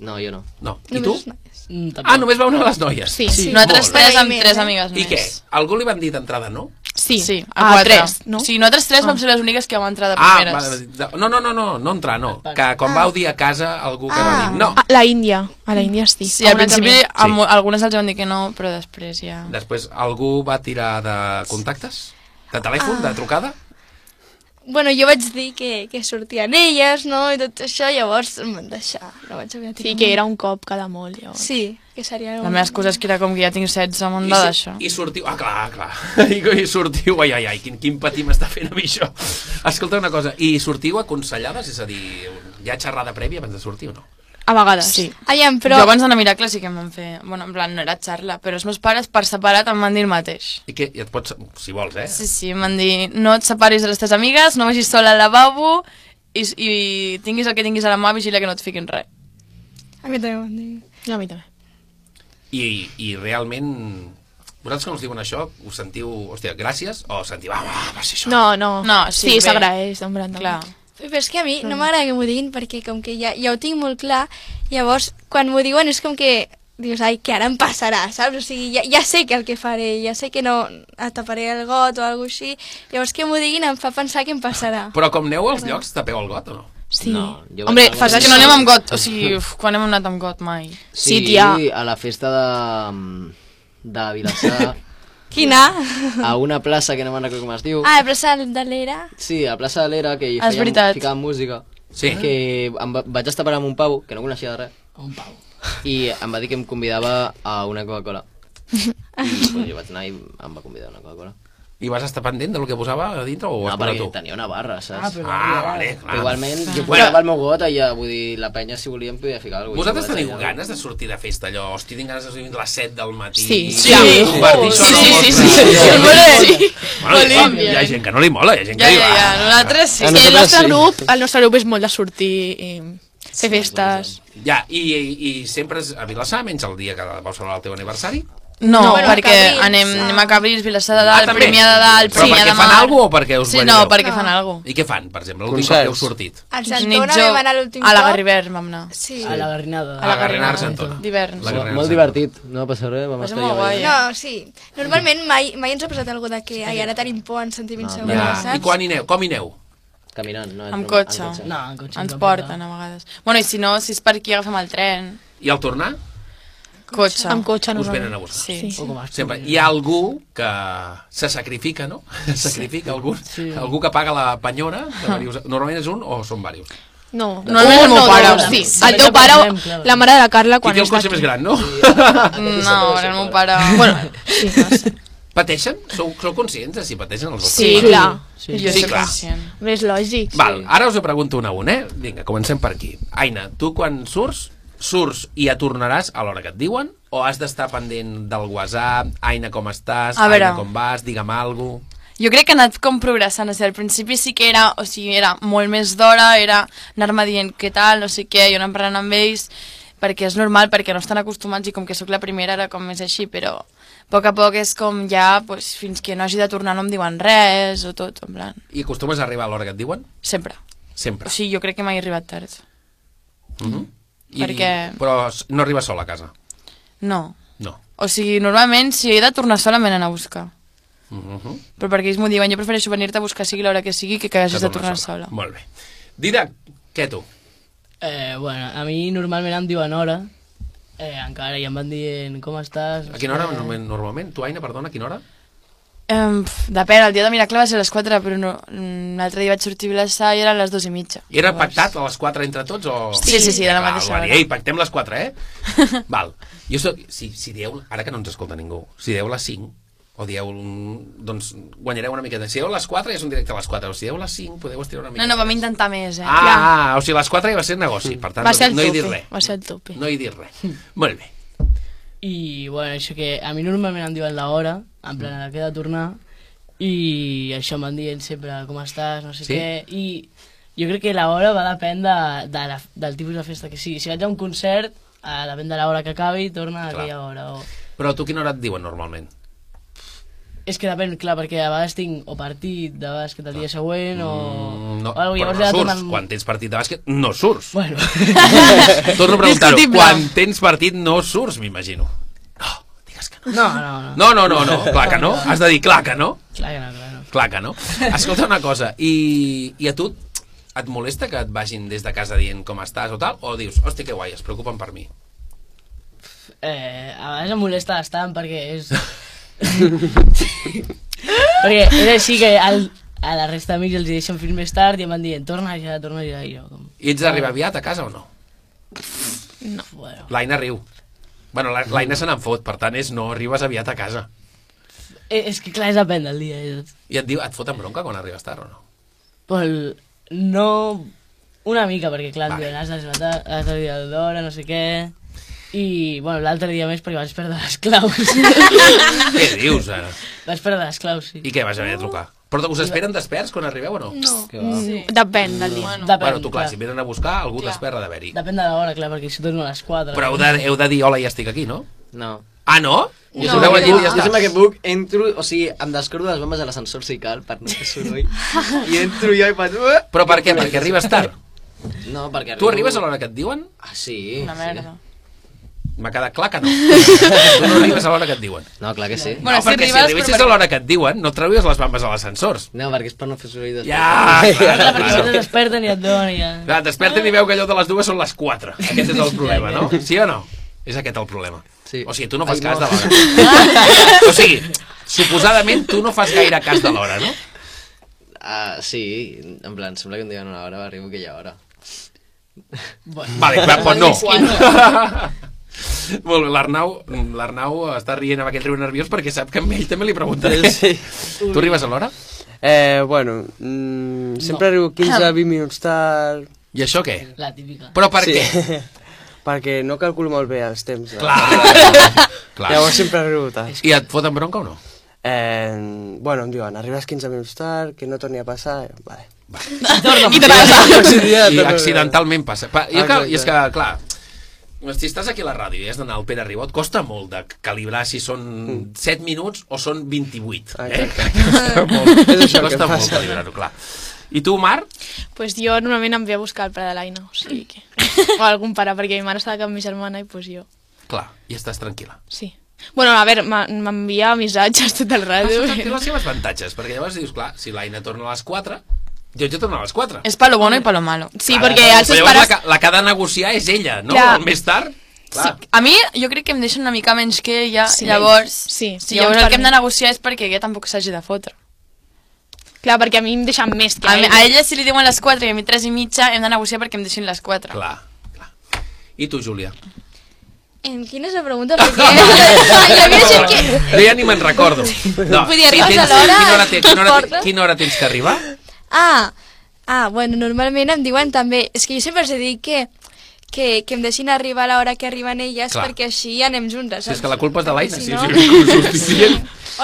[SPEAKER 8] No, jo no.
[SPEAKER 2] No. I tu?
[SPEAKER 4] Mm, tampoc.
[SPEAKER 2] Ah, només vau anar les noies.
[SPEAKER 3] Sí, sí.
[SPEAKER 5] Nosaltres
[SPEAKER 2] Molt bé.
[SPEAKER 5] tres amb
[SPEAKER 7] Agraïment,
[SPEAKER 5] tres
[SPEAKER 7] eh?
[SPEAKER 5] amigues
[SPEAKER 2] I
[SPEAKER 5] més.
[SPEAKER 2] què? Algú li van dir d'entrada no?
[SPEAKER 3] Sí, sí
[SPEAKER 9] a
[SPEAKER 3] a,
[SPEAKER 9] quatre.
[SPEAKER 3] tres, no?
[SPEAKER 5] Sí, nosaltres tres vam ser les úniques que vam entrar de
[SPEAKER 2] Ah,
[SPEAKER 5] primeres.
[SPEAKER 2] va- de- no, no, no, no, no entrar, no. Que quan vau dir a casa algú que va dir no.
[SPEAKER 3] A la Índia, a la Índia sí.
[SPEAKER 5] Sí,
[SPEAKER 3] A
[SPEAKER 5] al
[SPEAKER 3] una altra
[SPEAKER 5] principi
[SPEAKER 3] amiga.
[SPEAKER 5] a mo-
[SPEAKER 2] Sí.
[SPEAKER 5] algunes els van dir que no, però després ja...
[SPEAKER 2] Després algú va tirar de contactes? De telèfon,
[SPEAKER 8] Ah,
[SPEAKER 2] de trucada?
[SPEAKER 7] Bueno, jo vaig dir que, que sortien elles, no?, i tot això, llavors em van deixar. No vaig haver
[SPEAKER 3] Sí, que era un cop cada molt, llavors.
[SPEAKER 7] Sí, que seria...
[SPEAKER 5] La meva excusa és que era com que ja tinc 16,
[SPEAKER 2] I,
[SPEAKER 5] m'han de
[SPEAKER 2] su-
[SPEAKER 5] d'això.
[SPEAKER 2] I sortiu... Ah, clar, clar. I, i sortiu... Ai, ai, ai, quin, quin patir m'està fent a mi això. Escolta una cosa, i sortiu aconsellades? És a dir, hi ha xerrada prèvia abans de sortir o no?
[SPEAKER 3] A vegades.
[SPEAKER 5] Sí.
[SPEAKER 7] Aviam,
[SPEAKER 5] Però...
[SPEAKER 7] però...
[SPEAKER 5] Jo abans d'anar a Miracle sí que em van fer... Bueno, en plan, no era xarla, però els meus pares per separat em van dir el mateix.
[SPEAKER 2] I que i et pots... Si vols, eh?
[SPEAKER 5] Sí, sí, em van dir, no et separis de les teves amigues, no vagis sola al lavabo i, i tinguis el que tinguis a la mà, vigila que no et fiquin res.
[SPEAKER 7] A mi també m'han dit.
[SPEAKER 3] A mi també.
[SPEAKER 2] I, i realment... Vosaltres quan us diuen això, us sentiu, hòstia, gràcies? O sentiu, ah, va, va ser això?
[SPEAKER 3] No, no.
[SPEAKER 5] No, sí,
[SPEAKER 3] sí
[SPEAKER 5] bé.
[SPEAKER 3] s'agraeix, en plan.
[SPEAKER 5] Clar.
[SPEAKER 7] Però és que a mi no m'agrada que m'ho diguin perquè com que ja, ja ho tinc molt clar, llavors quan m'ho diuen és com que dius, ai, que ara em passarà, saps? O sigui, ja, ja sé que el que faré, ja sé que no et taparé el got o alguna així, llavors que m'ho diguin em fa pensar que em passarà.
[SPEAKER 2] Però com aneu als llocs, tapeu el got o no?
[SPEAKER 3] Sí.
[SPEAKER 8] No, jo vaig
[SPEAKER 3] Hombre,
[SPEAKER 8] anar
[SPEAKER 3] fas
[SPEAKER 5] És
[SPEAKER 8] Sí.
[SPEAKER 5] que
[SPEAKER 3] això.
[SPEAKER 5] no anem amb got, o sigui, uf, quan hem anat amb got mai?
[SPEAKER 3] Sí, tia.
[SPEAKER 8] a la festa de... mm, de Vilassar,
[SPEAKER 7] Quina?
[SPEAKER 8] a una plaça que no me'n recordo com es diu.
[SPEAKER 7] Ah, la plaça de l'era?
[SPEAKER 8] Sí, a la plaça de l'Era, que hi
[SPEAKER 5] Ah, és veritat.
[SPEAKER 8] ficava música.
[SPEAKER 2] Sí.
[SPEAKER 8] Que em va, vaig estar parlant amb un pavo, que no coneixia de res,
[SPEAKER 4] Un pau.
[SPEAKER 8] i em va dir que em convidava a una Coca-Cola. I pues, jo vaig anar i em va convidar a una Coca-Cola.
[SPEAKER 2] I vas estar pendent del que posava a dintre o
[SPEAKER 8] No,
[SPEAKER 2] has posat
[SPEAKER 8] perquè
[SPEAKER 2] tu?
[SPEAKER 8] tenia una barra, saps?
[SPEAKER 4] Ah, però-
[SPEAKER 2] Ah, vale, clar.
[SPEAKER 8] Però Igualment, jo
[SPEAKER 2] Bueno.
[SPEAKER 8] posava el meu got i ja, vull dir, la penya, si volíem, podia ficar alguna cosa.
[SPEAKER 2] Vosaltres teniu ganes de sortir de festa, allò? Hosti, tinc ganes de sortir a les 7 del matí.
[SPEAKER 3] Sí.
[SPEAKER 2] Ja, convertir això en el vostre- Bueno, hi ha- hi ha gent que no li mola, hi ha gent que
[SPEAKER 5] Ja,
[SPEAKER 2] li
[SPEAKER 5] ja,
[SPEAKER 2] va. Ah.
[SPEAKER 5] ja, nosaltres sí.
[SPEAKER 3] Sí,
[SPEAKER 6] A
[SPEAKER 3] el
[SPEAKER 6] nosaltres
[SPEAKER 3] nostre
[SPEAKER 6] sí.
[SPEAKER 3] grup, el nostre grup és molt de sortir i fer festes.
[SPEAKER 2] Ja, i, i, i sempre és a Vilassar, menys el dia que vau celebrar el teu aniversari?
[SPEAKER 5] No,
[SPEAKER 7] No,
[SPEAKER 5] no
[SPEAKER 7] bueno,
[SPEAKER 5] perquè
[SPEAKER 7] Cabrils,
[SPEAKER 5] anem,
[SPEAKER 7] ah.
[SPEAKER 5] anem a Cabrils, Vilassar de Dalt,
[SPEAKER 2] Ah, també?
[SPEAKER 5] Premià Ah, de Dalt,
[SPEAKER 2] Però
[SPEAKER 5] Premià
[SPEAKER 2] perquè
[SPEAKER 5] de Mar...
[SPEAKER 2] fan alguna o perquè us
[SPEAKER 5] Sí, no,
[SPEAKER 2] balleu?
[SPEAKER 5] perquè fan alguna
[SPEAKER 2] I què fan, per exemple, l'últim cop que heu sortit?
[SPEAKER 7] Al
[SPEAKER 5] Nit
[SPEAKER 7] Santona
[SPEAKER 5] jo-
[SPEAKER 7] vam anar l'últim
[SPEAKER 5] A la
[SPEAKER 7] cop.
[SPEAKER 5] Garrivers vam anar.
[SPEAKER 7] Sí.
[SPEAKER 4] A la garrinada.
[SPEAKER 2] A la Garrinar Santona.
[SPEAKER 5] D'hivern.
[SPEAKER 2] La Garrinar
[SPEAKER 8] Molt
[SPEAKER 2] Santona.
[SPEAKER 8] divertit, no va passar res, vam
[SPEAKER 5] Va ser
[SPEAKER 8] estar
[SPEAKER 5] molt
[SPEAKER 8] allà
[SPEAKER 5] guai.
[SPEAKER 8] ballant.
[SPEAKER 7] No, sí. Normalment mai, mai ens ha passat algú de que ai, ara tenim por, ens sentim insegures,
[SPEAKER 2] Ja.
[SPEAKER 7] saps?
[SPEAKER 2] I quan hi aneu? Com hi aneu?
[SPEAKER 8] Caminant, no?
[SPEAKER 5] Amb
[SPEAKER 8] en
[SPEAKER 5] cotxe.
[SPEAKER 4] No, en cotxe.
[SPEAKER 5] Ens porten a vegades. Bueno, i si no, si és per aquí agafem el tren.
[SPEAKER 2] I al tornar?
[SPEAKER 5] Cotxe.
[SPEAKER 3] Amb cotxe
[SPEAKER 2] Us venen
[SPEAKER 3] normalment.
[SPEAKER 2] a buscar.
[SPEAKER 5] doncs Sí. Ah, sí.
[SPEAKER 4] O com a
[SPEAKER 2] Sempre. Hi ha algú que se sacrifica, no? Se sacrifica algú, algú que paga la penyora. de diversos- Normalment és un o són diversos?
[SPEAKER 3] No,
[SPEAKER 5] No, no, no, pare.
[SPEAKER 3] dos, sí.
[SPEAKER 4] Sí,
[SPEAKER 3] El teu
[SPEAKER 4] ja
[SPEAKER 3] pare,
[SPEAKER 4] parlem, clar.
[SPEAKER 3] la mare de la Carla,
[SPEAKER 2] Qui
[SPEAKER 3] quan
[SPEAKER 2] té el
[SPEAKER 3] és
[SPEAKER 2] cotxe més gran, no?
[SPEAKER 5] No, era el meu pare. Bueno, sí, no sé.
[SPEAKER 2] Pateixen? Sou, sou conscients de si pateixen els vostres?
[SPEAKER 3] Sí, clar.
[SPEAKER 4] Sí.
[SPEAKER 5] jo
[SPEAKER 2] Sí,
[SPEAKER 5] soc
[SPEAKER 2] clar.
[SPEAKER 5] conscient.
[SPEAKER 3] Bé, És lògic.
[SPEAKER 2] Val, ara us ho pregunto una a un, eh? Vinga, comencem per aquí. Aina, tu quan surts, surts i ja tornaràs a l'hora que et diuen? O has d'estar pendent del WhatsApp, Aina, com estàs,
[SPEAKER 5] A veure.
[SPEAKER 2] Aina, com vas, digue'm alguna cosa...
[SPEAKER 5] Jo crec que ha anat com progressant, o sigui, al principi sí que era, o sigui, era molt més d'hora, era anar-me dient què tal, no sé què, i anar parlant amb ells, perquè és normal, perquè no estan acostumats i com que sóc la primera era com més així, però a poc a poc és com ja, pues, fins que no hagi de tornar no em diuen res o tot, en plan,
[SPEAKER 2] I acostumes a arribar a l'hora que et diuen?
[SPEAKER 5] sempre.
[SPEAKER 2] Sempre.
[SPEAKER 5] O sigui, jo crec que mai he arribat tard.
[SPEAKER 2] Mhm.
[SPEAKER 5] perquè-
[SPEAKER 2] Però s- no arriba sola a casa.
[SPEAKER 5] No.
[SPEAKER 2] No.
[SPEAKER 5] O sigui, normalment, si he de tornar sola, me n'han a buscar.
[SPEAKER 2] Uh -huh.
[SPEAKER 5] Però perquè ells m'ho diuen, jo prefereixo venir-te a buscar sigui l'hora que sigui que que hagis de tornar sola.
[SPEAKER 2] Molt bé. Didac, què tu?
[SPEAKER 4] Eh, bueno, a mi normalment em diuen hora, eh, encara, i em van dient com estàs...
[SPEAKER 2] A quina hora
[SPEAKER 4] Eh,
[SPEAKER 2] normalment? normalment? Tu, Aina, perdona, a quina hora?
[SPEAKER 5] Um, depèn, el dia de Miracle va ser a les 4, però no, mm, l'altre dia vaig sortir a Vilassar i era a les 2 i mitja.
[SPEAKER 2] I era pactat a les 4 entre tots o...?
[SPEAKER 5] Doncs Sí, sí, sí, de la mateixa
[SPEAKER 2] Val, val,
[SPEAKER 5] hora.
[SPEAKER 2] Ei, pactem les 4, eh? Val. Jo soc... Si, si dieu... Ara que no ens escolta ningú. Si dieu les 5, o dieu... un- Doncs guanyareu una miqueta. Si dieu les 4 ja és un directe a les 4, o si dieu les 5 podeu estirar una mica.
[SPEAKER 5] No, no, vam intentar més, eh?
[SPEAKER 2] Ah, ah, o sigui, les 4 ja va ser negoci, per tant,
[SPEAKER 3] Va ser el
[SPEAKER 2] no, no he dit
[SPEAKER 3] tope,
[SPEAKER 2] res.
[SPEAKER 3] va ser el tope.
[SPEAKER 2] No he dit res. Molt bé.
[SPEAKER 4] I, bueno, això que a mi normalment em diuen l'hora, en plan,
[SPEAKER 2] Mm.
[SPEAKER 4] a la que he de tornar, i això em van dient sempre com estàs, no sé
[SPEAKER 2] Sí?
[SPEAKER 4] sí? què, i jo crec que l'hora va depèn de, de la, del tipus de festa que sigui. Si vaig a un concert, eh, depèn de l'hora que acabi, torna a
[SPEAKER 2] Clar.
[SPEAKER 4] aquella hora. O...
[SPEAKER 2] Però a tu quina hora et diuen normalment?
[SPEAKER 4] És que depèn, clar, perquè a vegades tinc o partit, de vegades que el dia següent, o...
[SPEAKER 2] Mm,
[SPEAKER 4] o alguna
[SPEAKER 2] però
[SPEAKER 4] cosa, llavors
[SPEAKER 2] no
[SPEAKER 4] he de
[SPEAKER 2] surts.
[SPEAKER 4] tornar amb-
[SPEAKER 2] Quan tens partit de bàsquet, no surts.
[SPEAKER 4] Bueno,
[SPEAKER 2] Torno a preguntar-ho.
[SPEAKER 4] Ah.
[SPEAKER 3] Discutible.
[SPEAKER 2] Quan tens partit, no surts, m'imagino.
[SPEAKER 4] no, no, no,
[SPEAKER 2] No, no, no, no, clar que no.
[SPEAKER 4] Ah.
[SPEAKER 2] Has de dir clar que no.
[SPEAKER 4] clar que no, clar que no.
[SPEAKER 2] Clar que no. Escolta una cosa, i, i a tu et molesta que et vagin des de casa dient com estàs o tal? O dius, hosti, que guai, es preocupen per mi.
[SPEAKER 4] Eh, a vegades em molesta bastant perquè és... perquè és així que al, a la resta d'amics els hi deixen fins més tard i em van dient torna ja, torna ja, i jo com...
[SPEAKER 2] I ets d'arribar aviat a casa o no?
[SPEAKER 4] Ah. Bueno,
[SPEAKER 2] L'Aina riu. Bueno, la- l'Aina se n'en fot, per tant és no arribes aviat a casa.
[SPEAKER 4] és, "Eh, és que clar, és depèn del dia. És,
[SPEAKER 2] I et, diu, et foten bronca quan arribes tard o no?
[SPEAKER 4] però no... Una mica, perquè clar, em
[SPEAKER 2] Vale.
[SPEAKER 4] diuen has d'arribar has d'arribar a l'hora, no sé què... I, bueno, l'altre dia més perquè vaig perdre les claus.
[SPEAKER 2] Què dius, ara?
[SPEAKER 4] vaig perdre les claus, sí.
[SPEAKER 2] I què, vas haver de trucar? Però us esperen desperts quan arribeu o no? No.
[SPEAKER 3] Sí. Mm, Depèn del dia.
[SPEAKER 4] Depèn,
[SPEAKER 2] Bueno, tu clar, si venen a buscar, algú t'espera d'haver-hi.
[SPEAKER 4] Depèn de l'hora, clar, perquè si torno a les 4...
[SPEAKER 2] Però heu de, heu de dir, hola, ja estic aquí, no?
[SPEAKER 8] No.
[SPEAKER 2] Ah, no?
[SPEAKER 8] Jo
[SPEAKER 2] Us heu
[SPEAKER 8] sempre,
[SPEAKER 2] al
[SPEAKER 8] que
[SPEAKER 2] llit i
[SPEAKER 8] puc,
[SPEAKER 2] ja
[SPEAKER 8] jo
[SPEAKER 2] està.
[SPEAKER 8] sempre que puc entro, o sigui, em descordo les bombes de l'ascensor si cal, per no fer soroll. I entro jo i faig... "Uah!"
[SPEAKER 2] Però per què? Perquè arribes tard.
[SPEAKER 8] No, perquè
[SPEAKER 2] Tu arribes a l'hora que et diuen?
[SPEAKER 8] Ah, sí.
[SPEAKER 5] Una merda.
[SPEAKER 2] M'ha quedat clar que no. tu no arribes a l'hora que et diuen.
[SPEAKER 8] Sí. No, clar que sí.
[SPEAKER 2] no,
[SPEAKER 5] Bueno, si
[SPEAKER 2] perquè
[SPEAKER 5] arribes,
[SPEAKER 2] si arribessis
[SPEAKER 5] però per-
[SPEAKER 2] a l'hora que et diuen, no et trauries les bambes a l'ascensor.
[SPEAKER 8] No, perquè és per no fer soroll després.
[SPEAKER 2] Ja, clar,
[SPEAKER 4] Clar, perquè
[SPEAKER 2] clar.
[SPEAKER 4] llavors es desperten i et donen ja...
[SPEAKER 2] Clar, et desperten i veu que allò de les dues són les quatre. Aquest és el problema, no? Sí o no? És aquest el problema.
[SPEAKER 8] Sí.
[SPEAKER 2] O sigui, tu no fas
[SPEAKER 8] Ai,
[SPEAKER 2] cas
[SPEAKER 8] no.
[SPEAKER 2] de l'hora. o sigui, suposadament tu no fas gaire cas de l'hora, no?
[SPEAKER 8] Ah, sí, en plan, sembla que em diuen una hora, arribo aquella hora.
[SPEAKER 2] Vale, va, doncs no. Molt bé, l'Arnau l'Arnau està rient amb aquell riu nerviós perquè sap que a ell també li preguntaré.
[SPEAKER 6] Sí.
[SPEAKER 2] Tu arribes a l'hora?
[SPEAKER 6] Eh, bueno, mm, sempre arribo 15
[SPEAKER 5] Ah.
[SPEAKER 6] a 20 minuts tard,
[SPEAKER 2] I això què?
[SPEAKER 4] La típica.
[SPEAKER 2] Però per
[SPEAKER 6] Sí.
[SPEAKER 2] què?
[SPEAKER 6] perquè no calculo molt bé els temps. eh?
[SPEAKER 2] Clar. Clar.
[SPEAKER 6] Llavors sempre arribo tard.
[SPEAKER 2] I et foten bronca o no?
[SPEAKER 6] Eh, bueno, em diuen, arribes 15 minuts tard, que no torni a passar... i- Vale.
[SPEAKER 3] I te passa.
[SPEAKER 2] I accidentalment passa. Pa, jo
[SPEAKER 6] Ah,
[SPEAKER 2] que, I és que, clar, si estàs aquí a la ràdio i has d'anar al Pere Ribot, costa molt de calibrar si són 7 minuts o són 28. Eh?
[SPEAKER 6] Mm. Ah, Exacte.
[SPEAKER 2] Costa molt,
[SPEAKER 6] És això el que
[SPEAKER 2] costa
[SPEAKER 6] em
[SPEAKER 2] molt
[SPEAKER 6] passa.
[SPEAKER 2] calibrar-ho, clar. I tu, Mar?
[SPEAKER 3] Pues jo normalment em ve a buscar el pare de l'Aina, o sigui que... O algun pare, perquè mi mare està de cap amb mi germana i pues jo,
[SPEAKER 2] Clar, i estàs tranquil·la.
[SPEAKER 3] sí. Bueno, a veure, m'ha- m'envia missatges tot el eh. ràdio.
[SPEAKER 2] Té les seves avantatges, perquè llavors dius, clar, si l'Aina torna a les 4, jo jo torno a les 4.
[SPEAKER 5] És pa lo bueno i pa lo malo.
[SPEAKER 3] Sí, perquè
[SPEAKER 2] Però
[SPEAKER 3] els seus
[SPEAKER 2] llavors la,
[SPEAKER 3] pares...
[SPEAKER 2] que- la que ha de negociar és ella, no?
[SPEAKER 3] Clar.
[SPEAKER 2] El Més tard, clar.
[SPEAKER 5] Sí, a mi jo crec que em deixen una mica menys que ella,
[SPEAKER 3] Sí.
[SPEAKER 5] sí. llavors,
[SPEAKER 3] Sí. Llavors
[SPEAKER 5] sí, llavors el
[SPEAKER 3] per
[SPEAKER 5] que hem
[SPEAKER 3] mi-
[SPEAKER 5] de negociar és perquè ella tampoc s'hagi de fotre.
[SPEAKER 3] Clar, perquè a mi em deixen més que
[SPEAKER 5] A, mi-
[SPEAKER 3] ella.
[SPEAKER 5] a ella si li diuen les 4 i a mi 3 i mitja hem de negociar perquè em deixin les 4.
[SPEAKER 2] Clar, clar. I tu, Júlia?
[SPEAKER 7] Em, quina és la pregunta? Perquè hi havia gent que...
[SPEAKER 2] No, ja ni me'n recordo. No,
[SPEAKER 7] Vull dir, arribes
[SPEAKER 2] tens-
[SPEAKER 7] a l'hora
[SPEAKER 2] Quina hora,
[SPEAKER 7] i
[SPEAKER 2] tens, quina, hora,
[SPEAKER 7] porta.
[SPEAKER 2] quina hora tens que arribar?
[SPEAKER 7] Ah, ah, bueno, normalment em diuen també... És que jo sempre els he dit que, que, que em deixin arribar a l'hora que arriben elles
[SPEAKER 2] Clar.
[SPEAKER 7] perquè així anem juntes.
[SPEAKER 2] Si és
[SPEAKER 7] saps?
[SPEAKER 2] que la culpa és de l'Aina,
[SPEAKER 7] Si
[SPEAKER 2] si,
[SPEAKER 7] no-
[SPEAKER 2] si, si, si,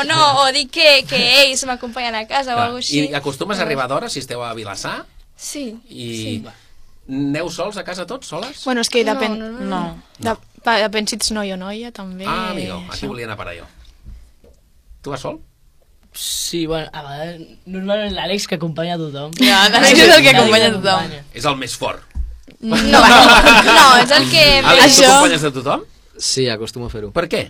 [SPEAKER 7] O no, o dic que, que ells m'acompanyen a casa o alguna
[SPEAKER 2] I
[SPEAKER 7] així.
[SPEAKER 2] acostumes a arribar d'hora si esteu a Vilassar
[SPEAKER 7] Sí.
[SPEAKER 2] i... Aneu sols a casa tots, soles?
[SPEAKER 3] Bueno, és que
[SPEAKER 7] No,
[SPEAKER 3] depèn...
[SPEAKER 7] no, no,
[SPEAKER 3] No. De... va, Depèn si ets noi o noia, també.
[SPEAKER 2] ah, amigo,
[SPEAKER 3] això.
[SPEAKER 2] aquí volia anar per allò. Tu vas sol?
[SPEAKER 4] Sí, bueno, a vegades... Normalment l'Àlex que acompanya a tothom.
[SPEAKER 5] Ja, l'Àlex Ah, és el que acompanya a tothom.
[SPEAKER 2] És el més fort.
[SPEAKER 7] No, no, és el que...
[SPEAKER 2] Àlex, tu acompanyes de tothom?
[SPEAKER 8] Sí, acostumo a fer-ho.
[SPEAKER 2] Per què?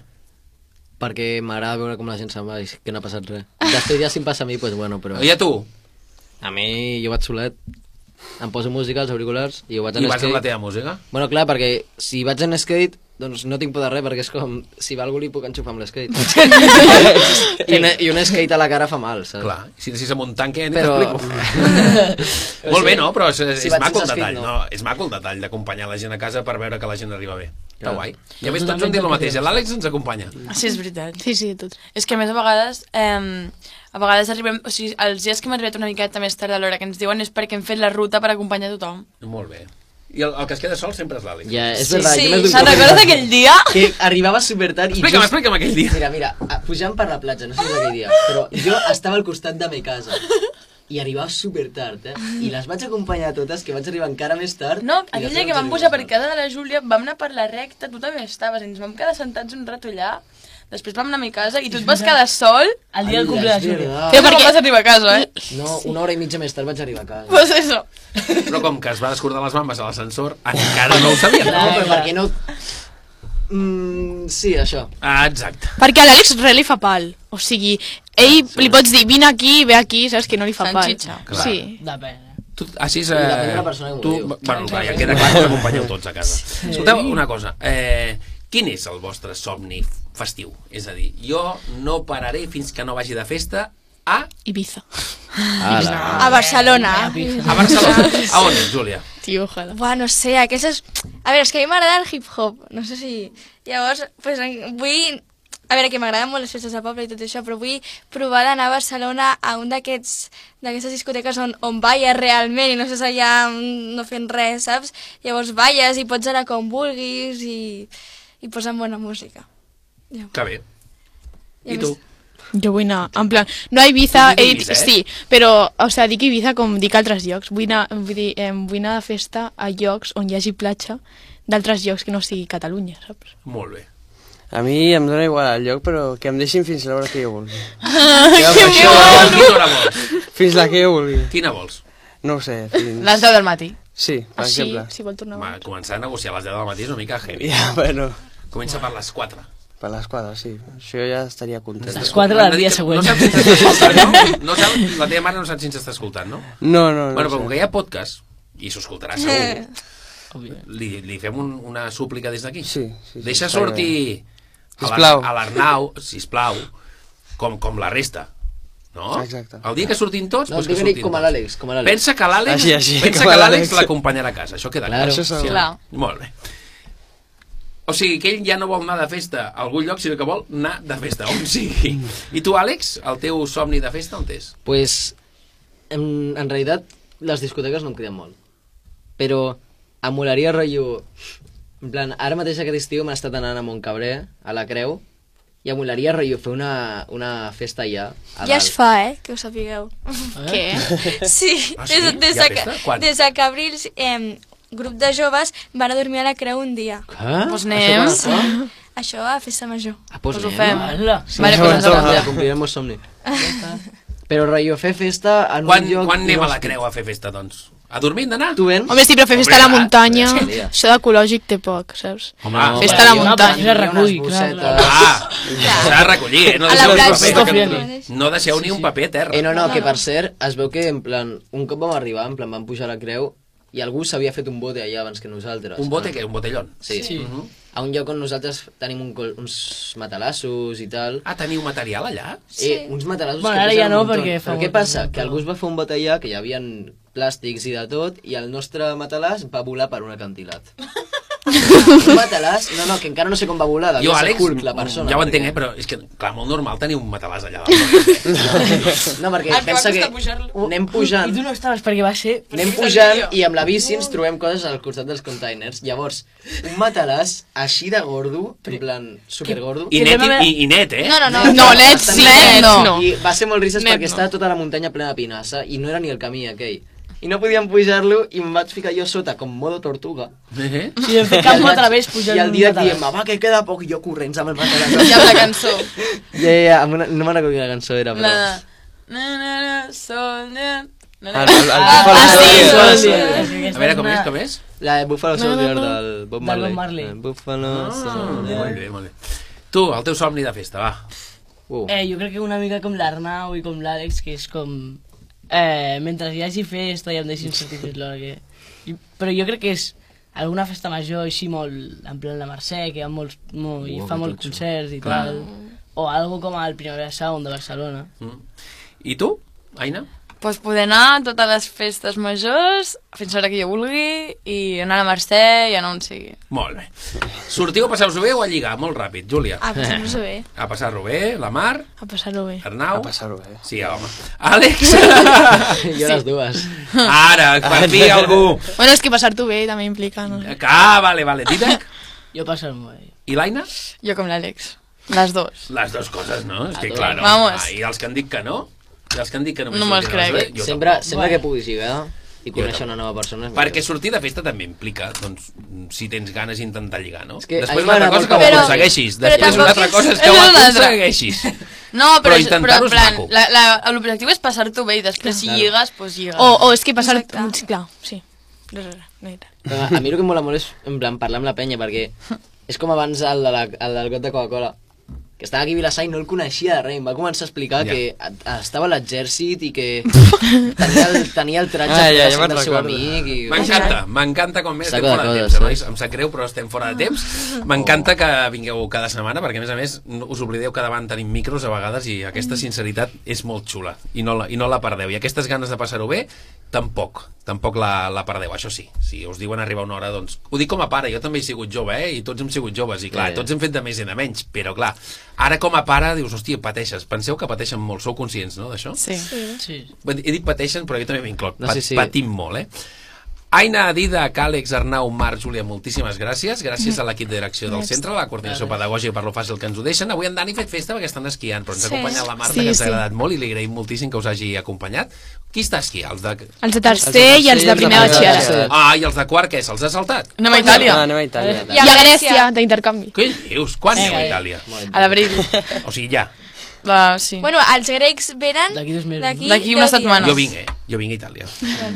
[SPEAKER 8] Perquè m'agrada veure com la gent se'n va i que no ha passat res. Després ja si em passa a mi, doncs bueno, però...
[SPEAKER 2] I a tu?
[SPEAKER 8] A mi, jo vaig solet, em poso música, els auriculars, i ho vaig a
[SPEAKER 2] I vas
[SPEAKER 8] l'skate.
[SPEAKER 2] amb la teva música?
[SPEAKER 8] Bueno, clar, perquè si vaig en skate, doncs no tinc por de res, perquè és com, si va algú li puc enxufar amb l'skate. I, una, I un skate a la cara fa mal, saps?
[SPEAKER 2] Clar, si anessis amb un tanque ja ni
[SPEAKER 8] Eh. Però-
[SPEAKER 2] t'explico. Molt bé, no? Però és, és,
[SPEAKER 8] Si
[SPEAKER 2] és
[SPEAKER 8] vaig
[SPEAKER 2] maco el
[SPEAKER 8] sense
[SPEAKER 2] detall,
[SPEAKER 8] escrit,
[SPEAKER 2] no.
[SPEAKER 8] no.
[SPEAKER 2] És maco el detall d'acompanyar la gent a casa per veure que la gent arriba bé. Està
[SPEAKER 8] Clar. Doncs
[SPEAKER 2] guai. I a més tots han dit el mateix, l'Àlex ens acompanya.
[SPEAKER 5] Sí, és veritat.
[SPEAKER 3] Sí, sí, tot.
[SPEAKER 5] És que a més a vegades, eh, a vegades arribem, o sigui, els dies que hem arribat una miqueta més tard a l'hora que ens diuen és perquè hem fet la ruta per acompanyar tothom.
[SPEAKER 2] Molt bé. I el, el que es queda sol sempre és l'Àlex.
[SPEAKER 8] Mm. Ja, és verdad, jo
[SPEAKER 5] sí,
[SPEAKER 8] me'n dubto.
[SPEAKER 5] se'n recorda aquell dia?
[SPEAKER 8] Que arribava supertard i
[SPEAKER 2] Explica'm, explica'm aquell dia.
[SPEAKER 8] Mira, mira, a- pujant per la platja, no sé si és aquell dia, però jo estava al costat de me casa i arribava supertard, eh? I les vaig acompanyar totes, que vaig arribar encara més tard.
[SPEAKER 5] No,
[SPEAKER 8] i
[SPEAKER 5] aquell
[SPEAKER 8] les
[SPEAKER 5] dia que
[SPEAKER 8] vaig
[SPEAKER 5] vam
[SPEAKER 8] arribar
[SPEAKER 5] pujar per
[SPEAKER 8] més tard.
[SPEAKER 5] casa de la Júlia, vam anar per la recta, tu també estaves, i ens vam quedar sentats un rato allà, després vam anar a mi casa i tu et vas quedar sol.
[SPEAKER 4] El dia del
[SPEAKER 8] Ai,
[SPEAKER 4] cumple de
[SPEAKER 8] és
[SPEAKER 4] Júlia.
[SPEAKER 8] verdad.
[SPEAKER 5] Però perquè... vas arribar a casa, eh?
[SPEAKER 8] No, una hora i mitja més tard vaig arribar a casa.
[SPEAKER 5] Pues eso.
[SPEAKER 2] Però com que es va descordar les mambes a l'ascensor, encara no ho sabien.
[SPEAKER 8] No, però
[SPEAKER 4] clar.
[SPEAKER 8] perquè no... Mm, sí, això.
[SPEAKER 2] Ah, exacte.
[SPEAKER 3] Perquè a l'Àlex res li fa pal. O sigui, ell li pots dir, vine aquí, ve aquí, saps que no li fa pal.
[SPEAKER 5] Sanxitxa.
[SPEAKER 2] Clar.
[SPEAKER 3] Sí.
[SPEAKER 4] Depèn. eh?
[SPEAKER 2] Tu, així és... eh,
[SPEAKER 8] la primera persona que
[SPEAKER 2] tu,
[SPEAKER 8] m'ho diu.
[SPEAKER 2] bueno, clar, ja queda clar que us acompanyeu tots a casa. Escolteu, una cosa. Eh, quin és el vostre somni festiu? És a dir, jo no pararé fins que no vagi de festa a,
[SPEAKER 3] Ibiza.
[SPEAKER 8] Ala.
[SPEAKER 7] A Barcelona.
[SPEAKER 2] a
[SPEAKER 4] Ah,
[SPEAKER 2] Barcelona. A on, Júlia?
[SPEAKER 3] Tio, ojalà.
[SPEAKER 7] Buah, no sé, aquestes... A veure, és que a mi m'agrada el hip-hop, no sé si... Llavors, pues, en- vull... A veure, que m'agraden molt les festes de poble i tot això, però vull provar d'anar a Barcelona a un d'aquests d'aquestes discoteques on, on balles realment i no estàs allà mm, no fent res, saps? Llavors balles i pots anar com vulguis i, i posen bona música.
[SPEAKER 2] Que bé. I tu?
[SPEAKER 3] Jo vull anar, en plan, no a Ibiza,
[SPEAKER 2] Tu dic
[SPEAKER 3] he dit,
[SPEAKER 2] Ibiza, eh?
[SPEAKER 3] sí, però, o sigui, dic Ibiza com dic a altres llocs. Vull anar, vull dir, eh, vull anar de festa a llocs on hi hagi platja d'altres llocs que no sigui Catalunya, saps?
[SPEAKER 2] Molt bé.
[SPEAKER 6] A mi em dóna igual el lloc, però que em deixin fins a l'hora que jo vulgui.
[SPEAKER 2] Quina hora vols?
[SPEAKER 6] Fins la que jo vulgui.
[SPEAKER 2] Quina vols?
[SPEAKER 6] No ho sé, fins...
[SPEAKER 5] Les 10 del matí.
[SPEAKER 6] Sí, per
[SPEAKER 3] Ah, sí,
[SPEAKER 6] exemple.
[SPEAKER 3] si vol tornar.
[SPEAKER 2] Va, començar a negociar a les 10 del matí és una mica heavy.
[SPEAKER 6] Ja, bueno,
[SPEAKER 2] Comença per les 4.
[SPEAKER 6] per les quadres, sí. Això ja estaria content.
[SPEAKER 4] Les quatre del dia següent.
[SPEAKER 2] No saps si estàs escoltant, no? no saps, la teva mare no saps si ens està escoltant, no?
[SPEAKER 6] No, no, no.
[SPEAKER 2] Bueno, però
[SPEAKER 6] sé.
[SPEAKER 2] com que hi ha podcast, i s'ho escoltarà segur, li, li fem un, una súplica des d'aquí.
[SPEAKER 6] Sí, sí, sí,
[SPEAKER 2] Deixa
[SPEAKER 6] està
[SPEAKER 2] sortir a la-
[SPEAKER 6] Sisplau.
[SPEAKER 2] a l'Arnau, sisplau, com, com la resta. No?
[SPEAKER 6] Exacte.
[SPEAKER 2] El dia que sortin tots,
[SPEAKER 8] No,
[SPEAKER 2] doncs que
[SPEAKER 8] digue-li
[SPEAKER 2] surtin
[SPEAKER 8] com a
[SPEAKER 2] tots.
[SPEAKER 8] l'Àlex, com a l'Àlex.
[SPEAKER 2] Pensa que l'Àlex
[SPEAKER 6] Així, així,
[SPEAKER 2] pensa
[SPEAKER 6] com
[SPEAKER 2] que
[SPEAKER 6] a
[SPEAKER 2] l'Àlex
[SPEAKER 6] l'Àlex.
[SPEAKER 2] l'acompanyarà a casa, això queda clar.
[SPEAKER 8] Claro.
[SPEAKER 6] Això
[SPEAKER 2] Sí,
[SPEAKER 6] segur.
[SPEAKER 5] Clar.
[SPEAKER 2] Molt bé. O sigui, que ell ja no vol anar de festa a algun lloc, sinó que vol anar de festa, on sigui. I tu, Àlex, el teu somni de festa on és?
[SPEAKER 8] Pues, en, en realitat, les discoteques no em criden molt. Però em molaria, rotllo... En plan, ara mateix aquest estiu m'ha estat anant a Montcabré, a la Creu, i em molaria, rotllo, fer una, una festa allà. A
[SPEAKER 7] Ja
[SPEAKER 8] dalt.
[SPEAKER 7] es fa, eh? Que ho sapigueu.
[SPEAKER 3] Què?
[SPEAKER 7] Sí,
[SPEAKER 2] Eh? Ah, sí?
[SPEAKER 7] des, des,
[SPEAKER 2] Hi ha
[SPEAKER 7] de, que,
[SPEAKER 2] festa? Quan?
[SPEAKER 7] des de que Abrils, eh, grup de joves, van a dormir a la creu un dia.
[SPEAKER 8] Què?
[SPEAKER 5] Doncs anem.
[SPEAKER 8] Això quan fa?
[SPEAKER 7] Això a festa major.
[SPEAKER 8] Ah, pues,
[SPEAKER 5] Pues ho
[SPEAKER 8] anem.
[SPEAKER 5] fem.
[SPEAKER 4] Hola.
[SPEAKER 8] Sí,
[SPEAKER 5] Vale,
[SPEAKER 8] vale,
[SPEAKER 5] pues
[SPEAKER 8] pues
[SPEAKER 5] ens
[SPEAKER 8] ja complirem el somni. Però, rotllo, fer festa en
[SPEAKER 2] Quan,
[SPEAKER 8] un lloc...
[SPEAKER 2] quan anem a la
[SPEAKER 8] inhòspit.
[SPEAKER 2] creu a fer festa, doncs? A dormir, d'anar?
[SPEAKER 8] Tu vens?
[SPEAKER 3] Home, sí, però fer festa a la
[SPEAKER 2] Home,
[SPEAKER 3] muntanya,
[SPEAKER 8] clar, és que-
[SPEAKER 3] això d'ecològic té poc, saps?
[SPEAKER 2] Home, ah,
[SPEAKER 3] festa a la muntanya.
[SPEAKER 4] Es recull,
[SPEAKER 8] Unes
[SPEAKER 4] clar. clar.
[SPEAKER 8] bossetes.
[SPEAKER 2] Ah, s'ha de recollir, eh? No
[SPEAKER 7] A la
[SPEAKER 2] deixeu, ni un
[SPEAKER 7] platja.
[SPEAKER 2] paper, que
[SPEAKER 4] Confia
[SPEAKER 2] no, no deixeu ni un paper a terra.
[SPEAKER 8] Eh, no, no, que per cert, es veu que, en plan, un cop vam arribar, en plan, vam pujar a la creu i algú s'havia fet un bote allà abans que nosaltres. Ah,
[SPEAKER 2] Un bote, què? Un botellón?
[SPEAKER 8] Sí. sí.
[SPEAKER 4] Sí.
[SPEAKER 8] A un lloc on nosaltres tenim un col, uns matalassos i tal.
[SPEAKER 2] Ah, teniu material allà?
[SPEAKER 8] Sí. Eh, uns matalassos
[SPEAKER 4] Bueno,
[SPEAKER 8] que
[SPEAKER 4] ara
[SPEAKER 8] pesen
[SPEAKER 4] ja no,
[SPEAKER 8] un muntó.
[SPEAKER 4] perquè fa
[SPEAKER 8] Però què
[SPEAKER 4] molt
[SPEAKER 8] passa?
[SPEAKER 4] temps,
[SPEAKER 8] Que
[SPEAKER 4] però-
[SPEAKER 8] algú es va fer un bote allà, que hi havia plàstics i de tot, i el nostre matalàs va volar per un acantilat. un matalàs? No, no, que encara no sé com va volar.
[SPEAKER 2] Jo,
[SPEAKER 8] devia ser
[SPEAKER 2] Àlex,
[SPEAKER 8] Hulk, la persona.
[SPEAKER 2] ja ho entenc, eh, però és que, clar, molt normal tenir un matalàs allà dalt.
[SPEAKER 8] No, perquè
[SPEAKER 5] El Ah, que va
[SPEAKER 8] pensa
[SPEAKER 5] costar
[SPEAKER 8] que
[SPEAKER 5] pujar-lo.
[SPEAKER 8] anem
[SPEAKER 4] I
[SPEAKER 8] pujant
[SPEAKER 4] tu no estaves perquè va ser...
[SPEAKER 8] Anem
[SPEAKER 5] Perquè
[SPEAKER 8] pujant
[SPEAKER 5] vídeo.
[SPEAKER 8] i amb la bici ens trobem coses al costat dels containers. Llavors, un matalàs així de gordo, en plan supergordo.
[SPEAKER 2] I net, i, i net, eh?
[SPEAKER 7] No, no, no.
[SPEAKER 3] No, lets sí,
[SPEAKER 8] Bastant net,
[SPEAKER 3] lets no.
[SPEAKER 8] I va ser molt risques
[SPEAKER 3] Net
[SPEAKER 8] perquè
[SPEAKER 3] no.
[SPEAKER 8] estava tota la muntanya plena de pinassa i no era ni el camí aquell. i no podíem pujar-lo i em vaig ficar jo sota com modo tortuga.
[SPEAKER 2] Eh?
[SPEAKER 4] Sí, hem fet camp
[SPEAKER 8] I el
[SPEAKER 4] otra
[SPEAKER 8] vaig-
[SPEAKER 4] vez pujant
[SPEAKER 8] I el dia
[SPEAKER 4] un
[SPEAKER 8] dient,
[SPEAKER 4] matalàs.
[SPEAKER 8] va, que queda poc, i jo corrents amb el
[SPEAKER 5] I
[SPEAKER 8] matalàs.
[SPEAKER 5] amb la cançó.
[SPEAKER 8] ja, ja, ja, amb una, no me'n recordo quina cançó era, però...
[SPEAKER 5] La de... Na, na, na, sol, na, na, na.
[SPEAKER 8] El- el- el Buffalo
[SPEAKER 5] ah, sí,
[SPEAKER 8] Soldier.
[SPEAKER 5] sol,
[SPEAKER 4] sí.
[SPEAKER 2] A veure, com és, com és?
[SPEAKER 8] La de Buffalo Soldier
[SPEAKER 4] no, no.
[SPEAKER 8] del
[SPEAKER 4] Del
[SPEAKER 8] Bob
[SPEAKER 4] Bob
[SPEAKER 8] Marley. Ah,
[SPEAKER 4] Marley.
[SPEAKER 8] Eh, Buffalo
[SPEAKER 4] Ah,
[SPEAKER 8] Soldier.
[SPEAKER 2] Ah, Molt bé, molt bé. Tu, el teu somni de festa, va.
[SPEAKER 8] Uh.
[SPEAKER 4] Eh, jo crec que una mica com l'Arnau i com l'Àlex, que és com... Eh, mentre hi hagi festa i em deixin sortir fins l'hora que... I, però jo crec que és alguna festa major així molt... En plan la Mercè, que hi ha molts, molt, i
[SPEAKER 2] Ua,
[SPEAKER 4] fa
[SPEAKER 2] que
[SPEAKER 4] molts
[SPEAKER 2] totxo.
[SPEAKER 4] concerts i
[SPEAKER 2] Clar.
[SPEAKER 4] tal. O algo com el Primavera Sound de Barcelona.
[SPEAKER 2] Mm. I tu, Aina?
[SPEAKER 5] pues poder anar a totes les festes majors, fins a l'hora que jo vulgui, i anar a la Mercè i anar on sigui.
[SPEAKER 2] Molt bé. Sortiu a passar-vos-ho bé o a lligar? Molt ràpid, Júlia.
[SPEAKER 7] Ah, pues no sé bé.
[SPEAKER 2] A passar-ho bé, la Mar,
[SPEAKER 3] A passar-ho bé.
[SPEAKER 2] Arnau...
[SPEAKER 6] A passar-ho bé.
[SPEAKER 2] Sí, home. Àlex!
[SPEAKER 8] Jo les dues.
[SPEAKER 2] Ara, per fi algú!
[SPEAKER 3] Bueno, és que passar-t'ho bé també implica, no?
[SPEAKER 2] Ah, vale, vale. Didac
[SPEAKER 4] Jo passo el meu.
[SPEAKER 2] i l'Aina?
[SPEAKER 5] Jo com l'Àlex. Les dues.
[SPEAKER 2] Les dues coses, no? És que, claro.
[SPEAKER 5] Vamos.
[SPEAKER 2] Ah, I els que han dit que no? I els que han dit que no.
[SPEAKER 5] No me'ls crec.
[SPEAKER 2] Jo
[SPEAKER 8] sempre
[SPEAKER 2] sempre...
[SPEAKER 8] sempre que puguis lligar i conèixer
[SPEAKER 2] tampoc.
[SPEAKER 8] una nova persona... és
[SPEAKER 2] Perquè
[SPEAKER 8] millor.
[SPEAKER 2] sortir de festa també implica, doncs, si tens ganes, intentar lligar, no?
[SPEAKER 8] És que a mi
[SPEAKER 2] Després una altra
[SPEAKER 8] m'agrada
[SPEAKER 2] cosa és que
[SPEAKER 8] molt
[SPEAKER 2] ho
[SPEAKER 8] però-
[SPEAKER 2] aconsegueixis.
[SPEAKER 5] però
[SPEAKER 2] Després una
[SPEAKER 5] tampoc
[SPEAKER 2] altra
[SPEAKER 5] és-
[SPEAKER 2] cosa és que
[SPEAKER 5] és
[SPEAKER 2] ho
[SPEAKER 5] una altra.
[SPEAKER 2] aconsegueixis.
[SPEAKER 5] No, però,
[SPEAKER 2] Però
[SPEAKER 5] és-
[SPEAKER 2] intentar-ho
[SPEAKER 5] però
[SPEAKER 2] és
[SPEAKER 5] en plan,
[SPEAKER 2] maco.
[SPEAKER 5] la, la, l'objectiu és passar-t'ho bé i després si lligues, doncs lligues.
[SPEAKER 3] O, o és que passar...
[SPEAKER 7] Exacte.
[SPEAKER 3] Clar, sí. No, no, no, no.
[SPEAKER 8] Però a mi el que em mola molt és, en plan, parlar amb la penya, perquè és com abans el, de la, el del got de Coca-Cola, que estava aquí a Vilassar i no el coneixia de res, em va començar a explicar
[SPEAKER 2] Ja.
[SPEAKER 8] ja. que a- estava a l'exèrcit i que tenia el, tenia el tratge
[SPEAKER 6] Ah, ja, ja
[SPEAKER 8] fluorescent
[SPEAKER 6] me'n
[SPEAKER 8] del seu
[SPEAKER 6] recordo.
[SPEAKER 8] amic i...
[SPEAKER 2] M'encanta, m'encanta com més
[SPEAKER 8] Saco
[SPEAKER 2] estem
[SPEAKER 8] de
[SPEAKER 2] fora de
[SPEAKER 8] coses,
[SPEAKER 2] temps,
[SPEAKER 8] sí.
[SPEAKER 2] nois. Em sap greu, però estem fora de temps. M'encanta que vingueu cada setmana, perquè a més a més no- us oblideu que davant tenim micros a vegades i
[SPEAKER 8] Mm.
[SPEAKER 2] aquesta sinceritat és molt xula i no la, i no la perdeu. I aquestes ganes de passar-ho bé, tampoc, tampoc la, la perdeu, això sí. Si us diuen arribar una hora, doncs... Ho dic com a pare, jo també he sigut jove, eh? I tots hem sigut joves, i clar,
[SPEAKER 8] Ja, ja.
[SPEAKER 2] tots hem fet de més i de menys, però clar, ara com a pare dius, hòstia, pateixes. Penseu que pateixen molt, sou conscients, no, d'això?
[SPEAKER 9] Sí.
[SPEAKER 4] Sí.
[SPEAKER 2] He dit pateixen, però jo també m'incloc.
[SPEAKER 8] No,
[SPEAKER 2] No,
[SPEAKER 8] sí,
[SPEAKER 2] sí,
[SPEAKER 8] sí.
[SPEAKER 2] Patim molt, eh? Aina, Dida, Àlex, Arnau, Marc, Júlia, moltíssimes gràcies. Gràcies a l'equip de direcció del centre, a la coordinació pedagògica per lo fàcil que ens ho deixen. Avui en Dani ha fet festa perquè estan esquiant, però ens ha
[SPEAKER 7] Sí.
[SPEAKER 2] acompanyat la Marta,
[SPEAKER 3] Sí,
[SPEAKER 2] que ens ha
[SPEAKER 3] sí.
[SPEAKER 2] agradat molt i li agraïm moltíssim que us hagi acompanyat. Qui està esquí? Els de...
[SPEAKER 3] Els de tercer i els de primer
[SPEAKER 6] primer
[SPEAKER 3] batxillerat.
[SPEAKER 6] batxillerat.
[SPEAKER 2] Ah, i els de quart, què? Se'ls ha saltat?
[SPEAKER 9] Anem a Itàlia.
[SPEAKER 6] No, anem a Itàlia.
[SPEAKER 3] I
[SPEAKER 7] I
[SPEAKER 3] a Grècia, d'intercanvi.
[SPEAKER 2] Què dius? Quan aneu a Itàlia?
[SPEAKER 9] A l'abril.
[SPEAKER 2] O sigui, ja.
[SPEAKER 9] La, sí.
[SPEAKER 7] Bueno, els grecs venen
[SPEAKER 4] D'aquí dos mesos.
[SPEAKER 7] d'aquí
[SPEAKER 9] D'aquí una
[SPEAKER 8] Ah,
[SPEAKER 7] deu
[SPEAKER 9] setmana.
[SPEAKER 2] Jo vinc, eh? Jo vinc a Itàlia.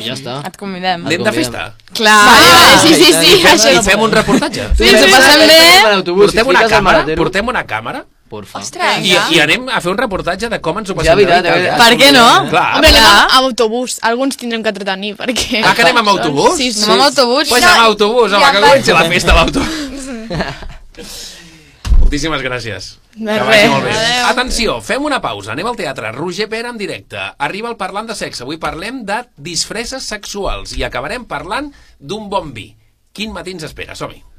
[SPEAKER 8] Ja està.
[SPEAKER 9] Et convidem.
[SPEAKER 2] Anem de
[SPEAKER 8] Ah, convidem.
[SPEAKER 2] festa.
[SPEAKER 9] Clar.
[SPEAKER 3] Ah, sí, sí, sí, això
[SPEAKER 2] I
[SPEAKER 3] és...
[SPEAKER 2] fem un reportatge.
[SPEAKER 8] Sí,
[SPEAKER 9] ens ho passem bé.
[SPEAKER 2] Portem una càmera? Portem una càmera?
[SPEAKER 8] Porfa.
[SPEAKER 7] Ostres,
[SPEAKER 2] I, I anem a fer un reportatge de com ens ho
[SPEAKER 8] Ja,
[SPEAKER 2] passem
[SPEAKER 8] veritat,
[SPEAKER 2] bé a Itàlia.
[SPEAKER 8] eh?
[SPEAKER 9] Per què no?
[SPEAKER 2] Clar.
[SPEAKER 3] Home, anem
[SPEAKER 9] clar.
[SPEAKER 3] amb amb autobús. Alguns tindrem que entretenir, perquè...
[SPEAKER 2] Ah, que anem amb autobús?
[SPEAKER 3] Sí, sí.
[SPEAKER 9] Anem amb autobús.
[SPEAKER 2] Pues amb autobús, home,
[SPEAKER 7] ja
[SPEAKER 2] que
[SPEAKER 7] va.
[SPEAKER 2] comenci la festa a l'autobús. Moltíssimes gràcies.
[SPEAKER 3] De
[SPEAKER 2] que vagi
[SPEAKER 3] res.
[SPEAKER 2] molt bé. Atenció, fem una pausa, anem al teatre. Roger Pera en directe. Arriba el Parlant de Sexe. Avui parlem de disfresses sexuals i acabarem parlant d'un bon vi. Quin matí ens espera? Som-hi.